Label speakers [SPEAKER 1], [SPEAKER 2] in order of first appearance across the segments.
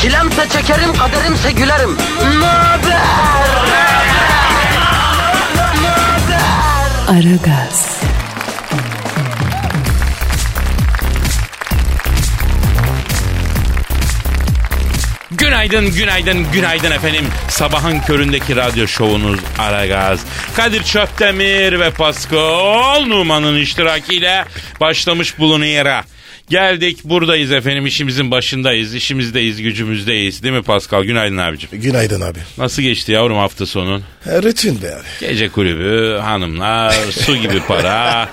[SPEAKER 1] Çilemse çekerim, kaderimse gülerim. Möber!
[SPEAKER 2] Aragaz,
[SPEAKER 3] Günaydın, günaydın, günaydın efendim. Sabahın köründeki radyo şovunuz Aragaz. Kadir Çöptemir ve Pascal Numan'ın iştirakiyle başlamış bulunuyor. Geldik buradayız efendim işimizin başındayız, işimizdeyiz, gücümüzdeyiz. Değil mi Pascal? Günaydın abicim.
[SPEAKER 4] Günaydın abi.
[SPEAKER 3] Nasıl geçti yavrum hafta sonun?
[SPEAKER 4] E, Rutin be abi.
[SPEAKER 3] Gece kulübü, hanımlar, su gibi para,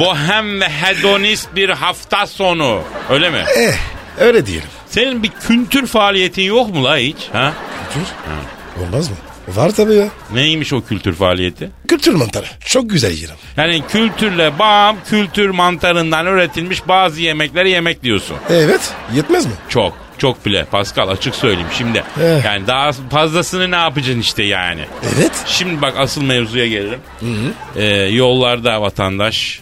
[SPEAKER 3] bohem ve hedonist bir hafta sonu. Öyle mi?
[SPEAKER 4] Eh öyle diyelim.
[SPEAKER 3] Senin bir kültür faaliyetin yok mu la hiç? Ha?
[SPEAKER 4] Dur. Olmaz mı? Var tabii ya.
[SPEAKER 3] Neymiş o kültür faaliyeti?
[SPEAKER 4] Kültür mantarı. Çok güzel yerim.
[SPEAKER 3] Yani kültürle bağım kültür mantarından üretilmiş bazı yemekleri yemek diyorsun.
[SPEAKER 4] Evet. Yetmez mi?
[SPEAKER 3] Çok. Çok bile Pascal açık söyleyeyim şimdi.
[SPEAKER 4] Eh.
[SPEAKER 3] Yani daha fazlasını ne yapacaksın işte yani.
[SPEAKER 4] Evet.
[SPEAKER 3] Şimdi bak asıl mevzuya gelelim. Ee, yollarda vatandaş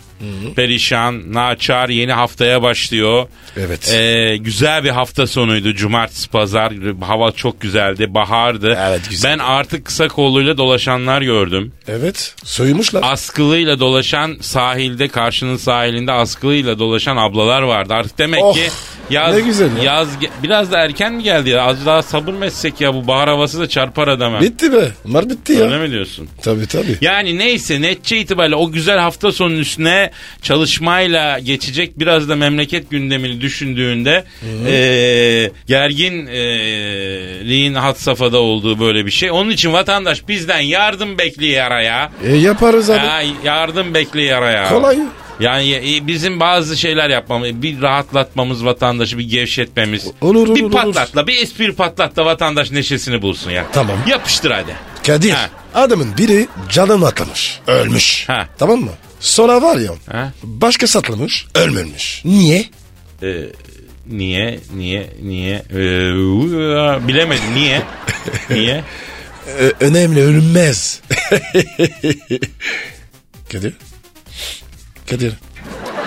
[SPEAKER 3] perişan, naçar yeni haftaya başlıyor.
[SPEAKER 4] Evet.
[SPEAKER 3] Ee, güzel bir hafta sonuydu. Cumartesi, pazar hava çok güzeldi, bahardı.
[SPEAKER 4] Evet, güzel.
[SPEAKER 3] Ben artık kısa kolluyla dolaşanlar gördüm.
[SPEAKER 4] Evet. Soyumuşlar.
[SPEAKER 3] Askılıyla dolaşan sahilde, karşının sahilinde askılıyla dolaşan ablalar vardı. Artık demek
[SPEAKER 4] Oh,
[SPEAKER 3] ki yaz
[SPEAKER 4] ne güzel ya.
[SPEAKER 3] yaz ge- biraz da erken mi geldi ya? Az daha sabır mı etsek ya bu bahar havası da çarpar adama.
[SPEAKER 4] bitti be. Mar bitti
[SPEAKER 3] Öyle
[SPEAKER 4] ya.
[SPEAKER 3] mi diyorsun?
[SPEAKER 4] Tabii tabii.
[SPEAKER 3] Yani neyse netçe itibariyle o güzel hafta sonunun üstüne çalışmayla geçecek biraz da memleket gündemini düşündüğünde eee gerginliğin hat safhada olduğu böyle bir şey. Onun için vatandaş bizden yardım bekliyor ya.
[SPEAKER 4] E, yaparız abi.
[SPEAKER 3] Ya yardım bekliyor ya.
[SPEAKER 4] Kolay.
[SPEAKER 3] Yani e, bizim bazı şeyler yapmamız, bir rahatlatmamız vatandaşı, bir gevşetmemiz.
[SPEAKER 4] Olur, olur,
[SPEAKER 3] Bir
[SPEAKER 4] olur.
[SPEAKER 3] patlatla, bir espri patlatla vatandaş neşesini bulsun ya.
[SPEAKER 4] Tamam.
[SPEAKER 3] Yapıştır hadi.
[SPEAKER 4] Kadir.
[SPEAKER 3] Ha.
[SPEAKER 4] Adamın biri canını atlamış. Ölmüş.
[SPEAKER 3] Ha.
[SPEAKER 4] Tamam mı? Sonra var ya.
[SPEAKER 3] Ha?
[SPEAKER 4] Başkası atlamış. Ölmemiş. Niye?
[SPEAKER 3] Ee, niye, niye, niye? Ee, uu, bilemedim niye? niye?
[SPEAKER 4] Ö- önemli ölünmez. Kadir. Kadir.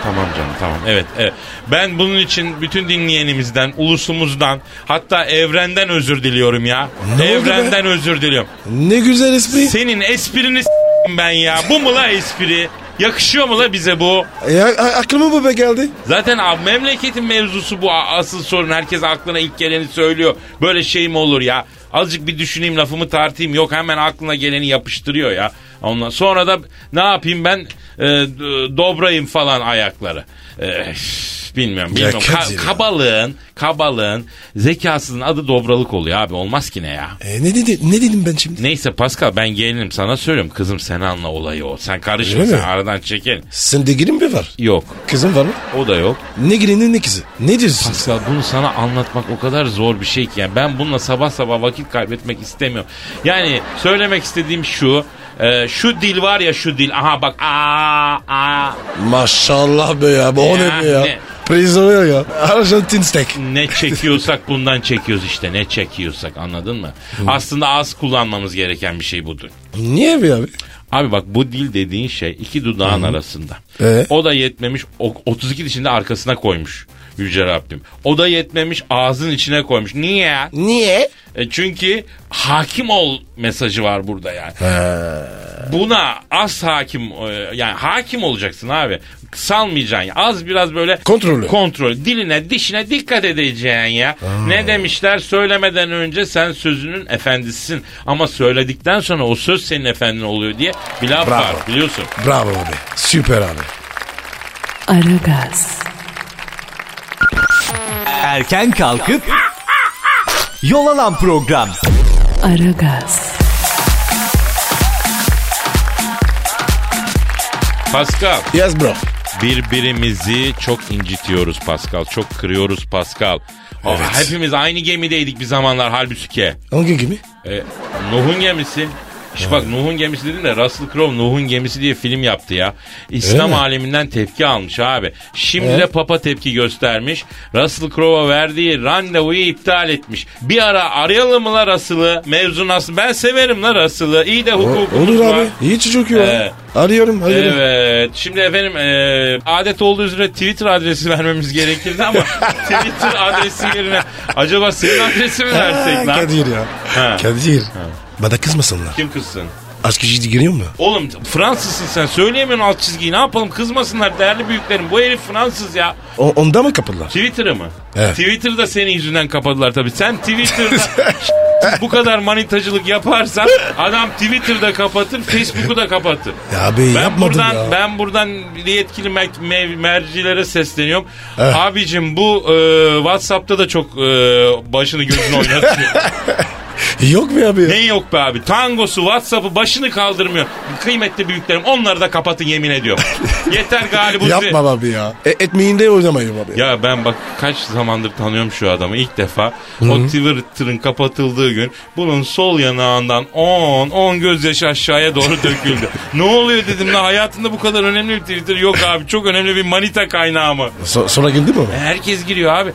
[SPEAKER 3] Tamam canım tamam. Evet, evet. Ben bunun için bütün dinleyenimizden, ulusumuzdan, hatta evrenden özür diliyorum ya.
[SPEAKER 4] Ne oldu
[SPEAKER 3] evrenden özür diliyorum.
[SPEAKER 4] Ne güzel espri.
[SPEAKER 3] Senin esprini s**eyim ben ya. Bu mu la espri? Yakışıyor mu la bize bu?
[SPEAKER 4] E, a- a- aklıma bu be geldi.
[SPEAKER 3] Zaten abi memleketin mevzusu bu A- asıl sorun. Herkes aklına ilk geleni söylüyor. Böyle şey mi olur ya? Azıcık bir düşüneyim lafımı tartayım. Yok hemen aklına geleni yapıştırıyor ya. Ondan sonra da ne yapayım ben e, d- dobrayım falan ayakları. E, üf, bilmiyorum bilmiyorum.
[SPEAKER 4] Ya
[SPEAKER 3] Ka-
[SPEAKER 4] Kadir ya.
[SPEAKER 3] kabalığın, kabalığın, zekasının adı dobralık oluyor abi. Olmaz ki ne ya?
[SPEAKER 4] E, ne, dedi, ne dedim ben şimdi?
[SPEAKER 3] Neyse Pascal ben gelinim sana söylüyorum. Kızım sen anla olayı o. Sen karışma
[SPEAKER 4] Öyle
[SPEAKER 3] sen
[SPEAKER 4] mi?
[SPEAKER 3] aradan çekin.
[SPEAKER 4] Sende gelin mi var?
[SPEAKER 3] Yok
[SPEAKER 4] Kızım var mı?
[SPEAKER 3] o da yok.
[SPEAKER 4] Ne gelinin ne kızı? Ne diyorsun?
[SPEAKER 3] Pascal bunu sana anlatmak o kadar zor bir şey ki. Yani ben bununla sabah sabah vakit kaybetmek istemiyorum. Yani söylemek istediğim şu. e, şu dil var ya şu dil. Aha bak aa aa.
[SPEAKER 4] Maşallah be ya. Bu o
[SPEAKER 3] Ya,
[SPEAKER 4] ne be ya?
[SPEAKER 3] ne?
[SPEAKER 4] Prizonuyor ya. Arjantin steak.
[SPEAKER 3] Ne çekiyorsak bundan çekiyoruz işte. Ne çekiyorsak anladın mı? Aslında az kullanmamız gereken bir şey budur.
[SPEAKER 4] Niye be abi?
[SPEAKER 3] Abi bak bu dil dediğin şey iki dudağın arasında.
[SPEAKER 4] Ee?
[SPEAKER 3] O da yetmemiş o- 32 dişini de arkasına koymuş Yüce Rabbim. O da yetmemiş ağzın içine koymuş. Niye?
[SPEAKER 4] Niye?
[SPEAKER 3] E çünkü hakim ol mesajı var burada yani. Buna az hakim e, yani hakim olacaksın abi. Salmayacaksın. ya. Az biraz böyle
[SPEAKER 4] Kontrollü.
[SPEAKER 3] Kontrol. Diline, dişine dikkat edeceksin ya. Ne demişler? Söylemeden önce sen sözünün efendisisin ama söyledikten sonra o söz senin efendin oluyor diye bir laf
[SPEAKER 4] Bravo.
[SPEAKER 3] var biliyorsun.
[SPEAKER 4] Bravo abi. Süper abi.
[SPEAKER 2] Aragaz,
[SPEAKER 5] Erken kalkıp yol alan program.
[SPEAKER 2] Aragaz,
[SPEAKER 3] Pascal
[SPEAKER 4] Yes bro.
[SPEAKER 3] birbirimizi çok incitiyoruz Pascal. Çok kırıyoruz Pascal. Aa,
[SPEAKER 4] Evet.
[SPEAKER 3] Hepimiz aynı gemideydik bir zamanlar halbuki.
[SPEAKER 4] Hangi gibi?
[SPEAKER 3] E, Nuh'un gemisi. İşte bak Nuh'un gemisi dedin de Russell Crowe Nuh'un gemisi diye film yaptı ya. İslam
[SPEAKER 4] Öyle mi?
[SPEAKER 3] aleminden tepki almış abi. Şimdi
[SPEAKER 4] Ee?
[SPEAKER 3] de Papa tepki göstermiş. Russell Crowe'a verdiği randevuyu iptal etmiş. Bir ara arayalım mı la Russell'ı? Mevzu nasıl? Ben severim la Russell'ı. İyi de
[SPEAKER 4] O-
[SPEAKER 3] hukuk.
[SPEAKER 4] Olur abi. İyi çocuk ya.
[SPEAKER 3] Ee,
[SPEAKER 4] Arıyorum arıyorum.
[SPEAKER 3] Evet. Şimdi efendim e, adet olduğu üzere Twitter adresi vermemiz gerekirdi ama Twitter adresi yerine acaba senin adresi mi versek
[SPEAKER 4] Ha,
[SPEAKER 3] lan?
[SPEAKER 4] Kadir ya.
[SPEAKER 3] Ha.
[SPEAKER 4] Kadir. Bana kızmasınlar.
[SPEAKER 3] Kim kızsın?
[SPEAKER 4] Aşk işi giriyor mu?
[SPEAKER 3] Oğlum Fransızsın sen söyleyemiyorsun alt çizgiyi ne yapalım kızmasınlar değerli büyüklerim bu herif Fransız ya.
[SPEAKER 4] O, onda mı kapılar?
[SPEAKER 3] Twitter'ı mı?
[SPEAKER 4] Evet.
[SPEAKER 3] Twitter'da senin yüzünden kapadılar tabii. Sen Twitter'da bu kadar manitacılık yaparsan adam Twitter'da kapatır, Facebook'u da kapatır.
[SPEAKER 4] Ya abi
[SPEAKER 3] Ben
[SPEAKER 4] yapmadım
[SPEAKER 3] buradan
[SPEAKER 4] ya.
[SPEAKER 3] ben buradan yetkili mer- me- mercilere sesleniyorum.
[SPEAKER 4] Evet.
[SPEAKER 3] Abicim bu e, WhatsApp'ta da çok e, başını gözünü oynatıyor.
[SPEAKER 4] Yok mu abi?
[SPEAKER 3] ne yok be abi? Tangosu, WhatsApp'ı başını kaldırmıyor. Kıymetli büyüklerim onları da kapatın yemin ediyorum. Yeter galiba.
[SPEAKER 4] Yapma abi ya. E, etmeyinde oynamayayım abi.
[SPEAKER 3] Ya ben bak kaç zamandır tanıyorum şu adamı ilk defa. O Twitter'ın kapatıldığı gün bunun sol yanağından 10 10 gözyaşı aşağıya doğru döküldü. ne oluyor dedim la hayatında bu kadar önemli bir Twitter yok abi. Çok önemli bir manita kaynağı mı? E,
[SPEAKER 4] So- sonra girdi mi? o?
[SPEAKER 3] Herkes giriyor abi.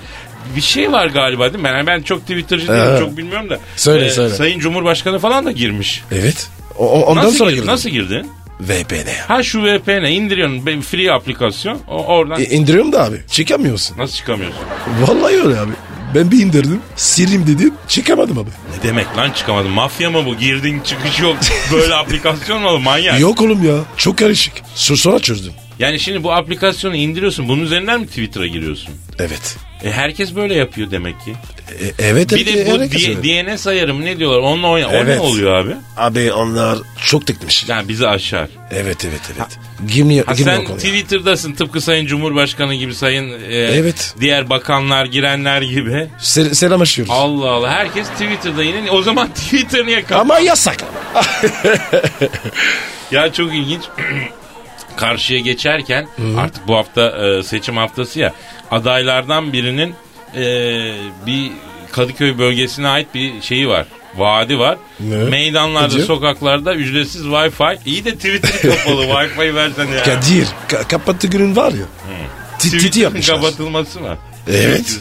[SPEAKER 3] Bir şey var galiba değil mi? Ben, ben çok Twitter'cı değilim
[SPEAKER 4] Evet.
[SPEAKER 3] çok bilmiyorum da.
[SPEAKER 4] Ee,
[SPEAKER 3] Ee,
[SPEAKER 4] Söyle, söyle.
[SPEAKER 3] Sayın Cumhurbaşkanı falan da girmiş.
[SPEAKER 4] Evet. O- o- ondan
[SPEAKER 3] nasıl
[SPEAKER 4] sonra
[SPEAKER 3] gir-
[SPEAKER 4] girdi.
[SPEAKER 3] Nasıl girdin?
[SPEAKER 4] VPN ya.
[SPEAKER 3] Ha şu VPN indiriyorsun be- free aplikasyon o, oradan.
[SPEAKER 4] E, indiriyorum da abi. Çıkamıyorsun.
[SPEAKER 3] Nasıl çıkamıyorsun?
[SPEAKER 4] Vallahi öyle abi. Ben bir indirdim. Sileyim dedim. Çıkamadım abi.
[SPEAKER 3] Ne demek lan çıkamadın? Mafya mı bu? Girdin çıkış yok. Böyle aplikasyon mu olur manyak?
[SPEAKER 4] Yok oğlum ya. Çok karışık. Su- Sonra çözdüm.
[SPEAKER 3] Yani şimdi bu aplikasyonu indiriyorsun. Bunun üzerinden mi Twitter'a giriyorsun?
[SPEAKER 4] Evet.
[SPEAKER 3] E herkes böyle yapıyor demek ki.
[SPEAKER 4] E, evet.
[SPEAKER 3] Bir de
[SPEAKER 4] evet,
[SPEAKER 3] bu
[SPEAKER 4] evet,
[SPEAKER 3] D-
[SPEAKER 4] evet.
[SPEAKER 3] DNS ayarı mı ne diyorlar? Onunla oyna. O ne
[SPEAKER 4] Evet.
[SPEAKER 3] oluyor abi?
[SPEAKER 4] Abi onlar çok tekmiş.
[SPEAKER 3] Yani bizi aşar.
[SPEAKER 4] Evet evet evet. Girmiyor,
[SPEAKER 3] Ha
[SPEAKER 4] girmiyor
[SPEAKER 3] sen
[SPEAKER 4] konuya.
[SPEAKER 3] Twitter'dasın tıpkı Sayın Cumhurbaşkanı gibi Sayın e,
[SPEAKER 4] Evet.
[SPEAKER 3] diğer bakanlar girenler gibi.
[SPEAKER 4] Sel- selamlaşıyoruz.
[SPEAKER 3] Allah Allah herkes Twitter'da yine. O zaman Twitter niye kapalı?
[SPEAKER 4] Ama yasak.
[SPEAKER 3] Ya çok ilginç. Karşıya geçerken artık bu hafta e, seçim haftası ya adaylardan birinin e, bir Kadıköy bölgesine ait bir şeyi var. Vaadi var.
[SPEAKER 4] Ne?
[SPEAKER 3] Meydanlarda,
[SPEAKER 4] Kadir?
[SPEAKER 3] sokaklarda ücretsiz Wi-Fi. İyi de Twitter kapalı. Wi-Fi versen ya.
[SPEAKER 4] Kadir ka- kapattı günün var ya. Ti- Titi
[SPEAKER 3] Twitter'ın
[SPEAKER 4] yapmışlar.
[SPEAKER 3] kapatılması mı?
[SPEAKER 4] Evet.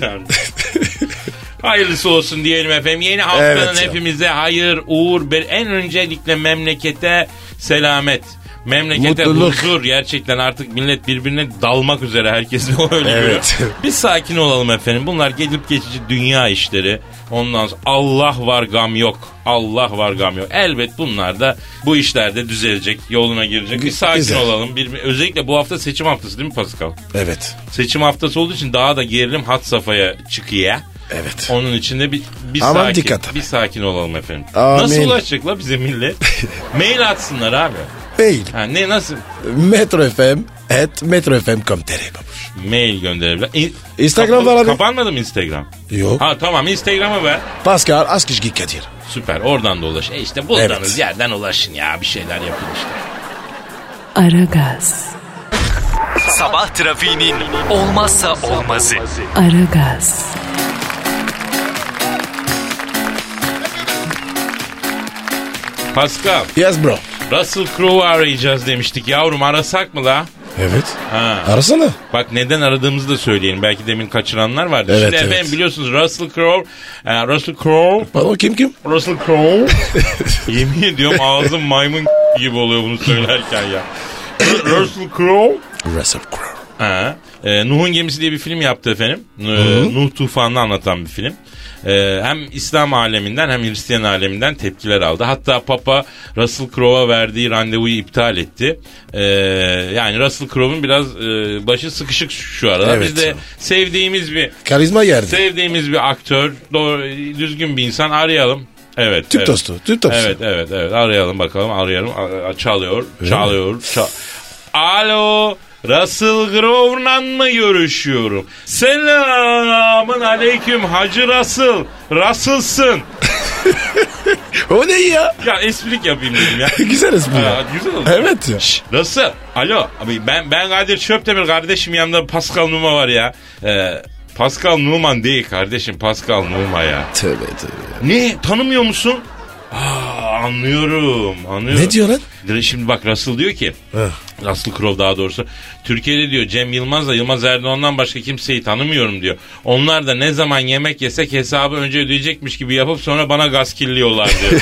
[SPEAKER 3] Hayırlısı olsun diyelim efendim. Yeni haftanın
[SPEAKER 4] Evet ya.
[SPEAKER 3] hepimize hayır, uğur, bir en öncelikle memlekete selamet. Memlekete
[SPEAKER 4] Mutluluk.
[SPEAKER 3] huzur gerçekten artık millet birbirine dalmak üzere herkes o öyle
[SPEAKER 4] Evet.
[SPEAKER 3] görüyor. Bir sakin olalım efendim. Bunlar gelip geçici dünya işleri. Ondan sonra Allah var gam yok. Allah var gam yok. Elbet bunlar da bu işlerde düzelecek, yoluna girecek. Bir sakin
[SPEAKER 4] Güzel.
[SPEAKER 3] olalım. Bir, özellikle bu hafta seçim haftası değil mi Pascal?
[SPEAKER 4] Evet.
[SPEAKER 3] Seçim haftası olduğu için daha da gerilim hat safhaya çıkıyor.
[SPEAKER 4] Evet.
[SPEAKER 3] Onun için de bir, bir
[SPEAKER 4] Aman
[SPEAKER 3] sakin,
[SPEAKER 4] dikkat.
[SPEAKER 3] bir sakin olalım efendim.
[SPEAKER 4] Amin.
[SPEAKER 3] Nasıl ulaşacak la bize millet? Mail atsınlar abi.
[SPEAKER 4] Mail.
[SPEAKER 3] Ha, ne nasıl?
[SPEAKER 4] Metro FM at metrofm.com.tr babuş.
[SPEAKER 3] Mail gönderebilir. İn-
[SPEAKER 4] Instagram var abi.
[SPEAKER 3] Kapanmadı mı Instagram?
[SPEAKER 4] Yok.
[SPEAKER 3] Ha tamam Instagram'a ver.
[SPEAKER 4] Pascal Askışgi Kadir.
[SPEAKER 3] Süper oradan da ulaş. E işte bulduğunuz
[SPEAKER 4] Evet.
[SPEAKER 3] yerden ulaşın ya bir şeyler yapın işte.
[SPEAKER 2] Aragaz,
[SPEAKER 5] Sabah trafiğinin olmazsa olmazı.
[SPEAKER 2] Aragaz,
[SPEAKER 3] Pascal,
[SPEAKER 4] Yes bro.
[SPEAKER 3] Russell Crowe'u arayacağız demiştik. Yavrum arasak mı la?
[SPEAKER 4] Evet.
[SPEAKER 3] Ha.
[SPEAKER 4] Arasana.
[SPEAKER 3] Bak neden aradığımızı da söyleyelim. Belki demin kaçıranlar vardı.
[SPEAKER 4] Evet,
[SPEAKER 3] Şimdi
[SPEAKER 4] evet.
[SPEAKER 3] efendim biliyorsunuz Russell Crowe, e, Russell Crowe
[SPEAKER 4] Pardon kim kim?
[SPEAKER 3] Russell Crowe. Yemin ediyorum ağzım maymun gibi oluyor bunu söylerken ya. Russell Crowe.
[SPEAKER 4] Russell Crowe.
[SPEAKER 3] Ha. e, Nuh'un Gemisi diye bir film yaptı efendim. E, Nuh tufanını anlatan bir film. E, hem İslam aleminden hem Hristiyan aleminden tepkiler aldı. Hatta Papa Russell Crowe'a verdiği randevuyu iptal etti. E, yani Russell Crowe'un biraz e, başı sıkışık şu arada.
[SPEAKER 4] Evet
[SPEAKER 3] Biz de
[SPEAKER 4] canım.
[SPEAKER 3] sevdiğimiz bir
[SPEAKER 4] Karizma yerdi.
[SPEAKER 3] Şey, sevdiğimiz bir aktör, doğru, düzgün bir insan arayalım. Evet.
[SPEAKER 4] Türk
[SPEAKER 3] evet.
[SPEAKER 4] tostu. Türk tostu.
[SPEAKER 3] Evet evet evet arayalım bakalım arayalım A- a- çalıyor çalıyor çal- Alo Russell Grover'la mı görüşüyorum? Selamın aleyküm Hacı Russell. Russell'sın.
[SPEAKER 4] O ne ya?
[SPEAKER 3] Ya esprik yapayım dedim ya.
[SPEAKER 4] Güzel ismi
[SPEAKER 3] Ha,
[SPEAKER 4] ya.
[SPEAKER 3] güzel oldu.
[SPEAKER 4] Evet ya.
[SPEAKER 3] Russell. Alo. Abi ben ben Kadir Çöptemir kardeşim yanımda Pascal Numa var ya. Ee, Pascal Numan değil kardeşim Pascal Numa ya.
[SPEAKER 4] Tövbe tövbe.
[SPEAKER 3] Ne tanımıyor musun? Aa, anlıyorum, anlıyorum.
[SPEAKER 4] Ne diyor lan?
[SPEAKER 3] Dire- Şimdi bak Russell diyor ki,
[SPEAKER 4] Heh.
[SPEAKER 3] Russell Crowe daha doğrusu, Türkiye'de diyor Cem Yılmaz'la Yılmaz Erdoğan'dan başka kimseyi tanımıyorum diyor. Onlar da ne zaman yemek yesek hesabı önce ödeyecekmiş gibi yapıp sonra bana gaz kirliyorlar diyor.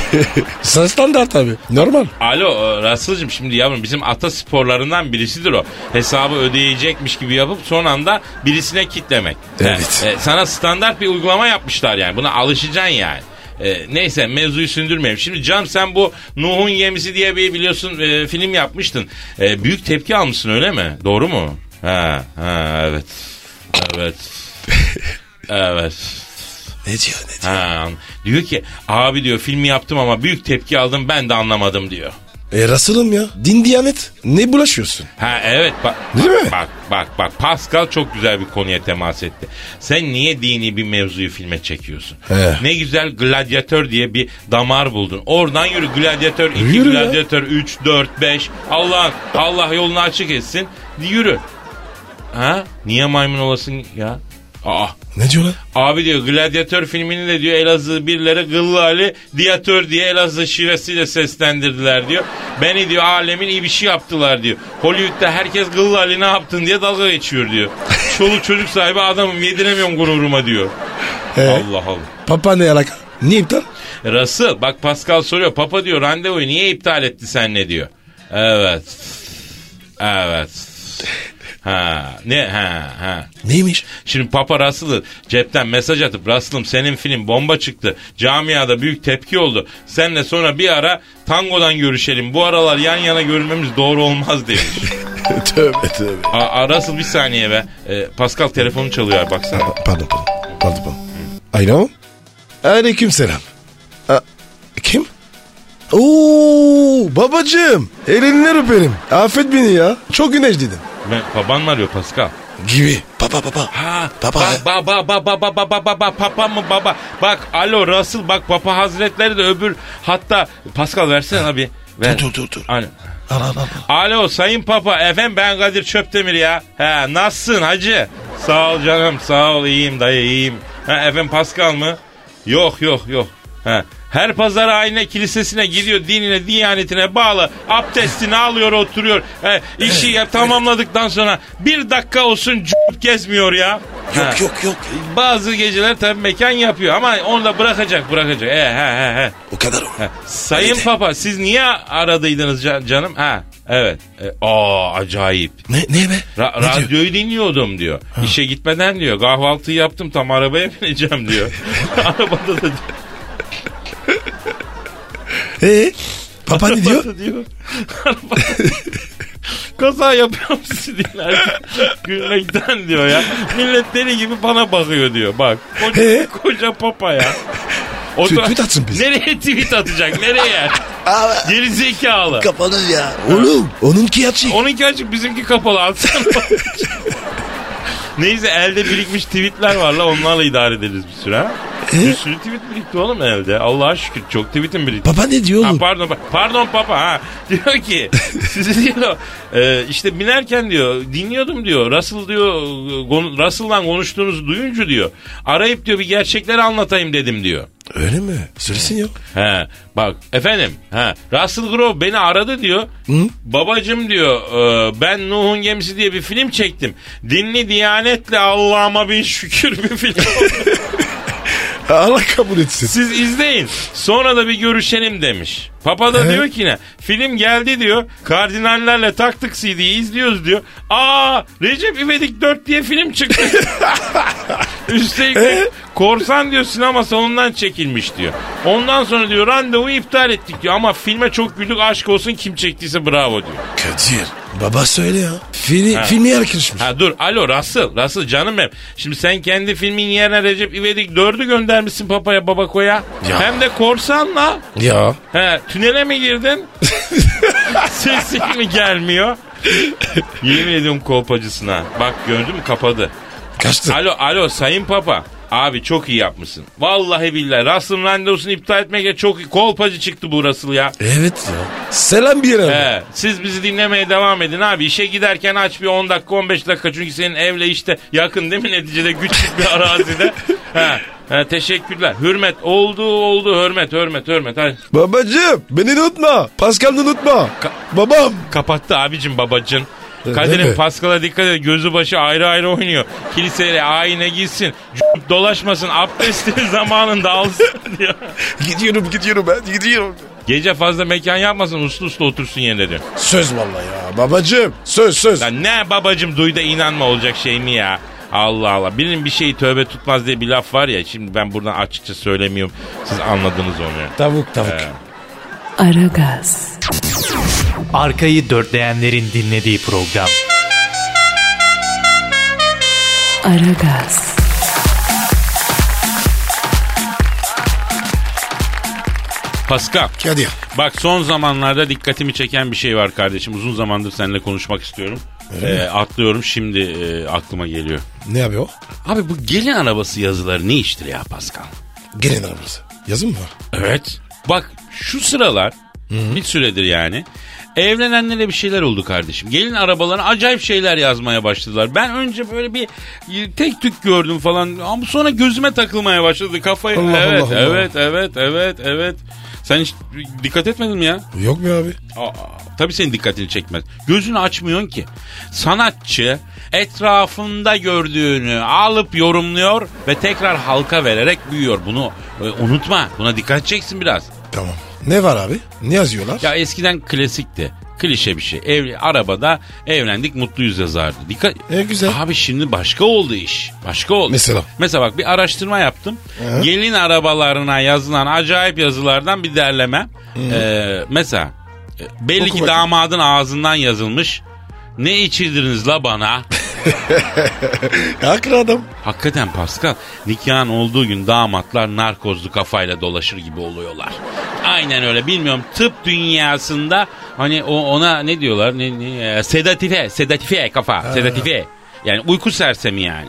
[SPEAKER 4] Sen standart abi. Normal.
[SPEAKER 3] Alo e, Russell'cığım şimdi yavrum bizim ata sporlarından birisidir o. Hesabı ödeyecekmiş gibi yapıp son anda birisine kitlemek.
[SPEAKER 4] Evet.
[SPEAKER 3] E, e, sana standart bir uygulama yapmışlar yani. Buna alışacaksın yani. E, neyse mevzuyu sündürmeyeyim. Şimdi Cam sen bu Nuh'un gemisi diye bir biliyorsun e, film yapmıştın. E, büyük tepki almışsın öyle mi? Doğru mu? Ha, ha evet. Evet. evet.
[SPEAKER 4] Ne diyor ne diyor?
[SPEAKER 3] Ha, diyor ki abi diyor filmi yaptım ama büyük tepki aldım ben de anlamadım diyor.
[SPEAKER 4] E Russell'ım ya. Din diyanet. Ne bulaşıyorsun?
[SPEAKER 3] Ha evet bak.
[SPEAKER 4] Değil mi?
[SPEAKER 3] Bak bak bak Pascal çok güzel bir konuya temas etti. Sen niye dini bir mevzuyu filme çekiyorsun?
[SPEAKER 4] He.
[SPEAKER 3] Ne güzel gladyatör diye bir damar buldun. Oradan yürü gladyatör 2,
[SPEAKER 4] Yürü ya.
[SPEAKER 3] gladyatör 3, 4, 5. Allah Allah yolunu açık etsin. Yürü. Ha? Niye maymun olasın ya? Aa.
[SPEAKER 4] Ne diyor lan?
[SPEAKER 3] Abi diyor gladyatör filmini de diyor Elazığ birileri Gıllı Ali diyatör diye Elazığ şivesiyle seslendirdiler diyor. Beni diyor alemin iyi bir şey yaptılar diyor. Hollywood'da herkes Gıllı Ali ne yaptın diye dalga geçiyor diyor. Çoluk çocuk sahibi adamım yediremiyorum gururuma diyor. Allah Allah.
[SPEAKER 4] Papa ne alaka? Niye iptal?
[SPEAKER 3] Russell bak Pascal soruyor papa diyor randevuyu niye iptal etti sen ne diyor. Evet. Evet. Ha ne ha ha.
[SPEAKER 4] Neymiş?
[SPEAKER 3] Şimdi Papa Russell'ı cepten mesaj atıp Russell'ım senin film bomba çıktı. Camiada büyük tepki oldu. Senle sonra bir ara tangodan görüşelim. Bu aralar yan yana görülmemiz doğru olmaz demiş.
[SPEAKER 4] tövbe tövbe.
[SPEAKER 3] Aa, aa, Russell bir saniye be. Ee, Pascal telefonu çalıyor abi, baksana.
[SPEAKER 4] Pardon pardon. Pardon pardon. Alo. Aleyküm selam. A- kim? Oo babacığım. Elinden öperim. Affet beni ya. Çok güneş dedim.
[SPEAKER 3] Ben, baban mı arıyor Pascal?
[SPEAKER 4] Gibi. Papa papa.
[SPEAKER 3] Ha,
[SPEAKER 4] Papa.
[SPEAKER 3] Baba baba baba baba baba papa mı baba? Bak alo Russell bak papa hazretleri de öbür hatta Pascal versene abi. Ver.
[SPEAKER 4] Dur dur dur.
[SPEAKER 3] Alo.
[SPEAKER 4] Al al al.
[SPEAKER 3] Alo Sayın Papa efendim ben Kadir Çöptemir ya. He nasılsın hacı? Sağ ol canım sağ ol iyiyim dayı iyiyim. He efendim Pascal mı? Yok yok yok. He. Her pazar ayine kilisesine gidiyor dinine diyanetine bağlı abdestini alıyor oturuyor. He, işi ya, tamamladıktan sonra bir dakika olsun c- gezmiyor ya. He.
[SPEAKER 4] yok yok.
[SPEAKER 3] Bazı geceler tabii mekan yapıyor ama onu da bırakacak bırakacak. He, he, he, he.
[SPEAKER 4] O kadar o.
[SPEAKER 3] Ha, Sayın Papa siz niye aradıydınız ca- canım? Ha evet. E, aa acayip.
[SPEAKER 4] Ne, ne be?
[SPEAKER 3] Ra-
[SPEAKER 4] ne diyor?
[SPEAKER 3] radyoyu dinliyordum diyor. İşe gitmeden diyor. Kahvaltıyı yaptım tam arabaya bineceğim diyor. Arabada da
[SPEAKER 4] Ee, papa ne diyor?
[SPEAKER 3] diyor. diyor. Arabada- Kaza yapıyorum sizi dinlerken. Gülmekten diyor ya. Millet deli gibi bana bakıyor diyor. Bak. Koca,
[SPEAKER 4] He?
[SPEAKER 3] koca papa ya. O
[SPEAKER 4] Ee? Tweet-
[SPEAKER 3] da-
[SPEAKER 4] tweet atsın biz.
[SPEAKER 3] Nereye tweet atacak? Nereye? Geri zekalı.
[SPEAKER 4] Kapalı ya. Oğlum onunki açık.
[SPEAKER 3] Onunki açık bizimki kapalı atsana. Neyse elde birikmiş tweetler var la onlarla idare ederiz bir süre. ha. Bir sürü tweet birikti oğlum elde. Allah'a şükür çok tweetim birikti.
[SPEAKER 4] Papa ne diyor
[SPEAKER 3] Ha,
[SPEAKER 4] oğlum?
[SPEAKER 3] pardon pa- pardon papa ha diyor ki sizi diyor e, işte binerken diyor dinliyordum diyor Russell diyor e, konu- Russell'dan konuştuğunuzu duyunca diyor arayıp diyor bir gerçekleri anlatayım dedim diyor.
[SPEAKER 4] Öyle mi? Söylesin yok.
[SPEAKER 3] He bak efendim he Russell Crowe beni aradı diyor. Babacım diyor e, ben Nuh'un gemisi diye bir film çektim. Dinli diyanetle Allah'ıma bin şükür bir film.
[SPEAKER 4] Allah kabul etsin.
[SPEAKER 3] Siz izleyin. Sonra da bir görüşelim demiş. Papa da diyor ki ne? Film geldi diyor. Kardinallerle taktık CD'yi izliyoruz diyor. Aa Recep İvedik 4 diye film çıktı. Üstelik de korsan diyor sinema salonundan çekilmiş diyor. Ondan sonra diyor randevu iptal ettik diyor. Ama filme çok güldük aşk olsun kim çektiyse bravo diyor.
[SPEAKER 4] Kadir. Baba söyle ya. Fili, filmi yakışmış.
[SPEAKER 3] Ha dur alo Russell. Russell canım benim. Şimdi sen kendi filmin yerine Recep İvedik 4'ü göndermişsin papaya babakoya.
[SPEAKER 4] Ya.
[SPEAKER 3] Hem de korsanla.
[SPEAKER 4] Ya.
[SPEAKER 3] He, tünele mi girdin? Sesin mi gelmiyor? Yemin ediyorum kolpacısına. Bak gördün mü kapadı.
[SPEAKER 4] Kaçtı.
[SPEAKER 3] Alo alo sayın papa. Abi çok iyi yapmışsın. Vallahi billahi Russell'ın randevusunu iptal etmeye çok iyi. Kolpacı çıktı bu Russell ya.
[SPEAKER 4] Evet ya. Selam bir yere.
[SPEAKER 3] He, siz bizi dinlemeye devam edin abi. İşe giderken aç bir 10 dakika 15 dakika. Çünkü senin evle işte yakın değil mi neticede güçlü bir arazide. He. Ha, teşekkürler. Hürmet oldu oldu hürmet hürmet hürmet. Hadi.
[SPEAKER 4] Babacım beni de unutma. Pascal'ı unutma.
[SPEAKER 3] Ka-
[SPEAKER 4] Babam.
[SPEAKER 3] Kapattı abicim babacın.
[SPEAKER 4] E, değil
[SPEAKER 3] Kadir'in
[SPEAKER 4] mi?
[SPEAKER 3] Paskal'a dikkat et. Gözü başı ayrı ayrı oynuyor. Kiliseye ayine gitsin. c- Dolaşmasın. Abdesti zamanında alsın diyor.
[SPEAKER 4] Gidiyorum gidiyorum ben gidiyorum.
[SPEAKER 3] Gece fazla mekan yapmasın. Uslu uslu otursun yerine diyor.
[SPEAKER 4] Söz vallahi ya babacım. Söz söz.
[SPEAKER 3] Lan ne babacım duy da inanma olacak şey mi ya? Allah Allah. Birinin bir şeyi tövbe tutmaz diye bir laf var ya. Şimdi ben buradan açıkça söylemiyorum. Siz anladınız onu. ya.
[SPEAKER 4] Tavuk tavuk.
[SPEAKER 2] Aragaz,
[SPEAKER 5] Arkayı dörtleyenlerin dinlediği program.
[SPEAKER 2] Aragaz,
[SPEAKER 3] Pascal.
[SPEAKER 4] Kadir.
[SPEAKER 3] Bak son zamanlarda dikkatimi çeken bir şey var kardeşim. Uzun zamandır seninle konuşmak istiyorum. Ee, atlıyorum şimdi e, aklıma geliyor.
[SPEAKER 4] Ne abi o?
[SPEAKER 3] Abi bu gelin arabası yazıları ne iştir ya Pascal?
[SPEAKER 4] Gelin arabası. Yazın mı var?
[SPEAKER 3] Evet. Bak şu sıralar bir süredir yani evlenenlere bir şeyler oldu kardeşim. Gelin arabalarına acayip şeyler yazmaya başladılar. Ben önce böyle bir e, tek tük gördüm falan ama sonra gözüme takılmaya başladı kafayı.
[SPEAKER 4] Allah
[SPEAKER 3] evet,
[SPEAKER 4] Allah Allah.
[SPEAKER 3] evet, evet, evet, evet. Sen hiç dikkat etmedin mi ya?
[SPEAKER 4] Yok mu abi?
[SPEAKER 3] Aa, tabii senin dikkatini çekmez. Gözünü açmıyorsun ki. Sanatçı etrafında gördüğünü alıp yorumluyor ve tekrar halka vererek büyüyor. Bunu e, unutma. Buna dikkat edeceksin biraz.
[SPEAKER 4] Tamam. Ne var abi? Ne yazıyorlar?
[SPEAKER 3] Ya eskiden klasikti. Klişe bir şey. Evli, arabada evlendik mutluyuz yazardı. Dikkat.
[SPEAKER 4] E, güzel.
[SPEAKER 3] Abi şimdi başka oldu iş. Başka oldu.
[SPEAKER 4] Mesela?
[SPEAKER 3] Mesela bak bir araştırma yaptım. Gelin arabalarına yazılan acayip yazılardan bir derleme. Ee, mesela e, belli
[SPEAKER 4] Oku
[SPEAKER 3] ki
[SPEAKER 4] bakayım.
[SPEAKER 3] damadın ağzından yazılmış. Ne içirdiniz la bana?
[SPEAKER 4] Haklı adam.
[SPEAKER 3] Hakikaten Pascal nikahın olduğu gün damatlar narkozlu kafayla dolaşır gibi oluyorlar. Aynen öyle bilmiyorum tıp dünyasında hani o ona ne diyorlar ne, ne- e, sedatife sedatife kafa sedatife yani uyku sersemi yani.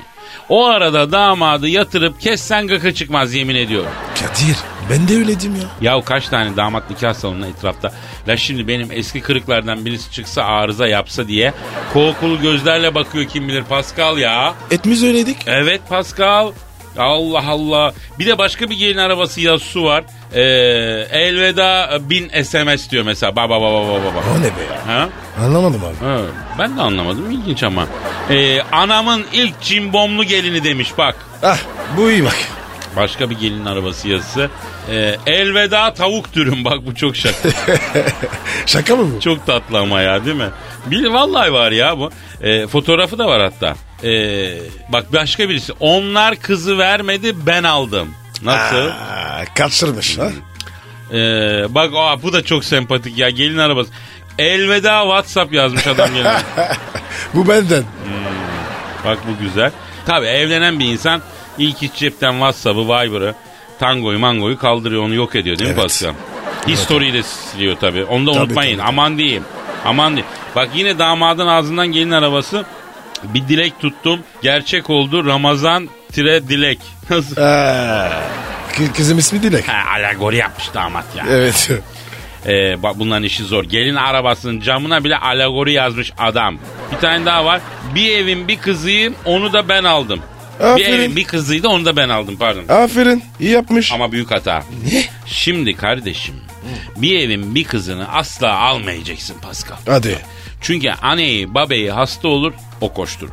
[SPEAKER 3] O arada damadı yatırıp kessen gıkı çıkmaz yemin ediyorum.
[SPEAKER 4] Kadir ben de öyledim ya.
[SPEAKER 3] Yahu kaç tane damat nikah salonuna etrafta. La şimdi benim eski kırıklardan birisi çıksa arıza yapsa diye kokulu gözlerle bakıyor kim bilir Pascal ya.
[SPEAKER 4] Etmiz öyleydik.
[SPEAKER 3] Evet Pascal. Allah Allah. Bir de başka bir gelin arabası yazısı var. Ee, elveda bin SMS diyor mesela. Baba baba baba
[SPEAKER 4] O
[SPEAKER 3] baba.
[SPEAKER 4] ne be ya?
[SPEAKER 3] Ha?
[SPEAKER 4] Anlamadım abi.
[SPEAKER 3] Ha, ben de anlamadım ilginç ama. Ee, anamın ilk cimbomlu gelini demiş bak.
[SPEAKER 4] Ah bu iyi bak.
[SPEAKER 3] Başka bir gelin arabası yazısı. Ee, elveda tavuk dürüm bak bu çok şaka.
[SPEAKER 4] Şaka mı bu?
[SPEAKER 3] çok tatlı ama ya değil mi? Bil vallahi var ya bu. Ee, fotoğrafı da var hatta. Ee, bak başka birisi. Onlar kızı vermedi ben aldım. Nasıl?
[SPEAKER 4] Aa, kaçırmış ha.
[SPEAKER 3] Ee, bak aa, bu da çok sempatik ya gelin arabası. Elveda WhatsApp yazmış adam gelin.
[SPEAKER 4] bu benden.
[SPEAKER 3] bak bu güzel. Tabii evlenen bir insan ilk iç cepten WhatsApp'ı, Viber'ı, Tango'yu, Mango'yu kaldırıyor onu yok ediyor değil mi
[SPEAKER 4] Evet.
[SPEAKER 3] Pascal? History'yi de siliyor tabii. Onu da
[SPEAKER 4] Tabii,
[SPEAKER 3] unutmayın.
[SPEAKER 4] tabii, tabii.
[SPEAKER 3] Aman diyeyim. Aman diyeyim. Bak yine damadın ağzından gelin arabası. Bir dilek tuttum. Gerçek oldu. Ramazan tire dilek. Nasıl?
[SPEAKER 4] Aa, kı- kızım ismi Dilek.
[SPEAKER 3] Ha, alegori yapmış damat ya.
[SPEAKER 4] Evet.
[SPEAKER 3] Ee, bak bunların işi zor. Gelin arabasının camına bile alegori yazmış adam. Bir tane daha var. Bir evin bir kızıyım onu da ben aldım. Bir
[SPEAKER 4] Aferin.
[SPEAKER 3] evin bir kızıydı onu da ben aldım pardon.
[SPEAKER 4] Aferin iyi yapmış.
[SPEAKER 3] Ama büyük hata.
[SPEAKER 4] Ne?
[SPEAKER 3] Şimdi kardeşim bir evin bir kızını asla almayacaksın Pascal.
[SPEAKER 4] Hadi.
[SPEAKER 3] Çünkü anneyi babayı hasta olur o koşturur.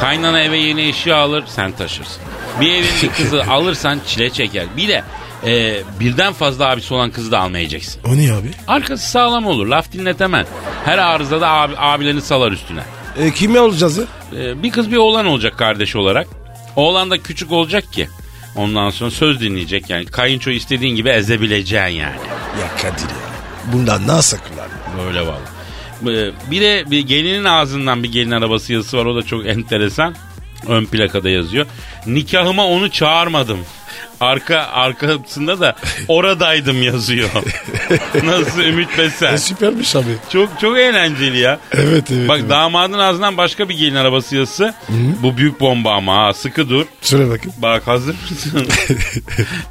[SPEAKER 3] Kaynana eve yeni eşya alır sen taşırsın. Bir evin bir kızı alırsan çile çeker. Bir de e, birden fazla abisi olan kızı da almayacaksın.
[SPEAKER 4] O ne abi?
[SPEAKER 3] Arkası sağlam olur. Laf dinletemez. Her arızada abi, abilerini salar üstüne.
[SPEAKER 4] E, kimi alacağız? ya?
[SPEAKER 3] Ee, bir kız bir oğlan olacak kardeş olarak. Oğlan da küçük olacak ki. Ondan sonra söz dinleyecek yani. Kayınço istediğin gibi ezebileceksin yani.
[SPEAKER 4] Ya Kadir ya. Bundan nasıl kullan?
[SPEAKER 3] Böyle vallahi. Ee, Bir de bir gelinin ağzından bir gelin arabası yazısı var. O da çok enteresan. Ön plakada yazıyor. Nikahıma onu çağırmadım. Arka arkasında da oradaydım yazıyor. Nasıl Ümit Besen?
[SPEAKER 4] E, süpermiş abi.
[SPEAKER 3] Çok çok eğlenceli ya.
[SPEAKER 4] Evet evet.
[SPEAKER 3] Bak
[SPEAKER 4] evet.
[SPEAKER 3] damadın ağzından başka bir gelin arabası yazısı. Bu büyük bomba ama ha sıkı dur.
[SPEAKER 4] Söyle bakayım.
[SPEAKER 3] Bak hazır mısın?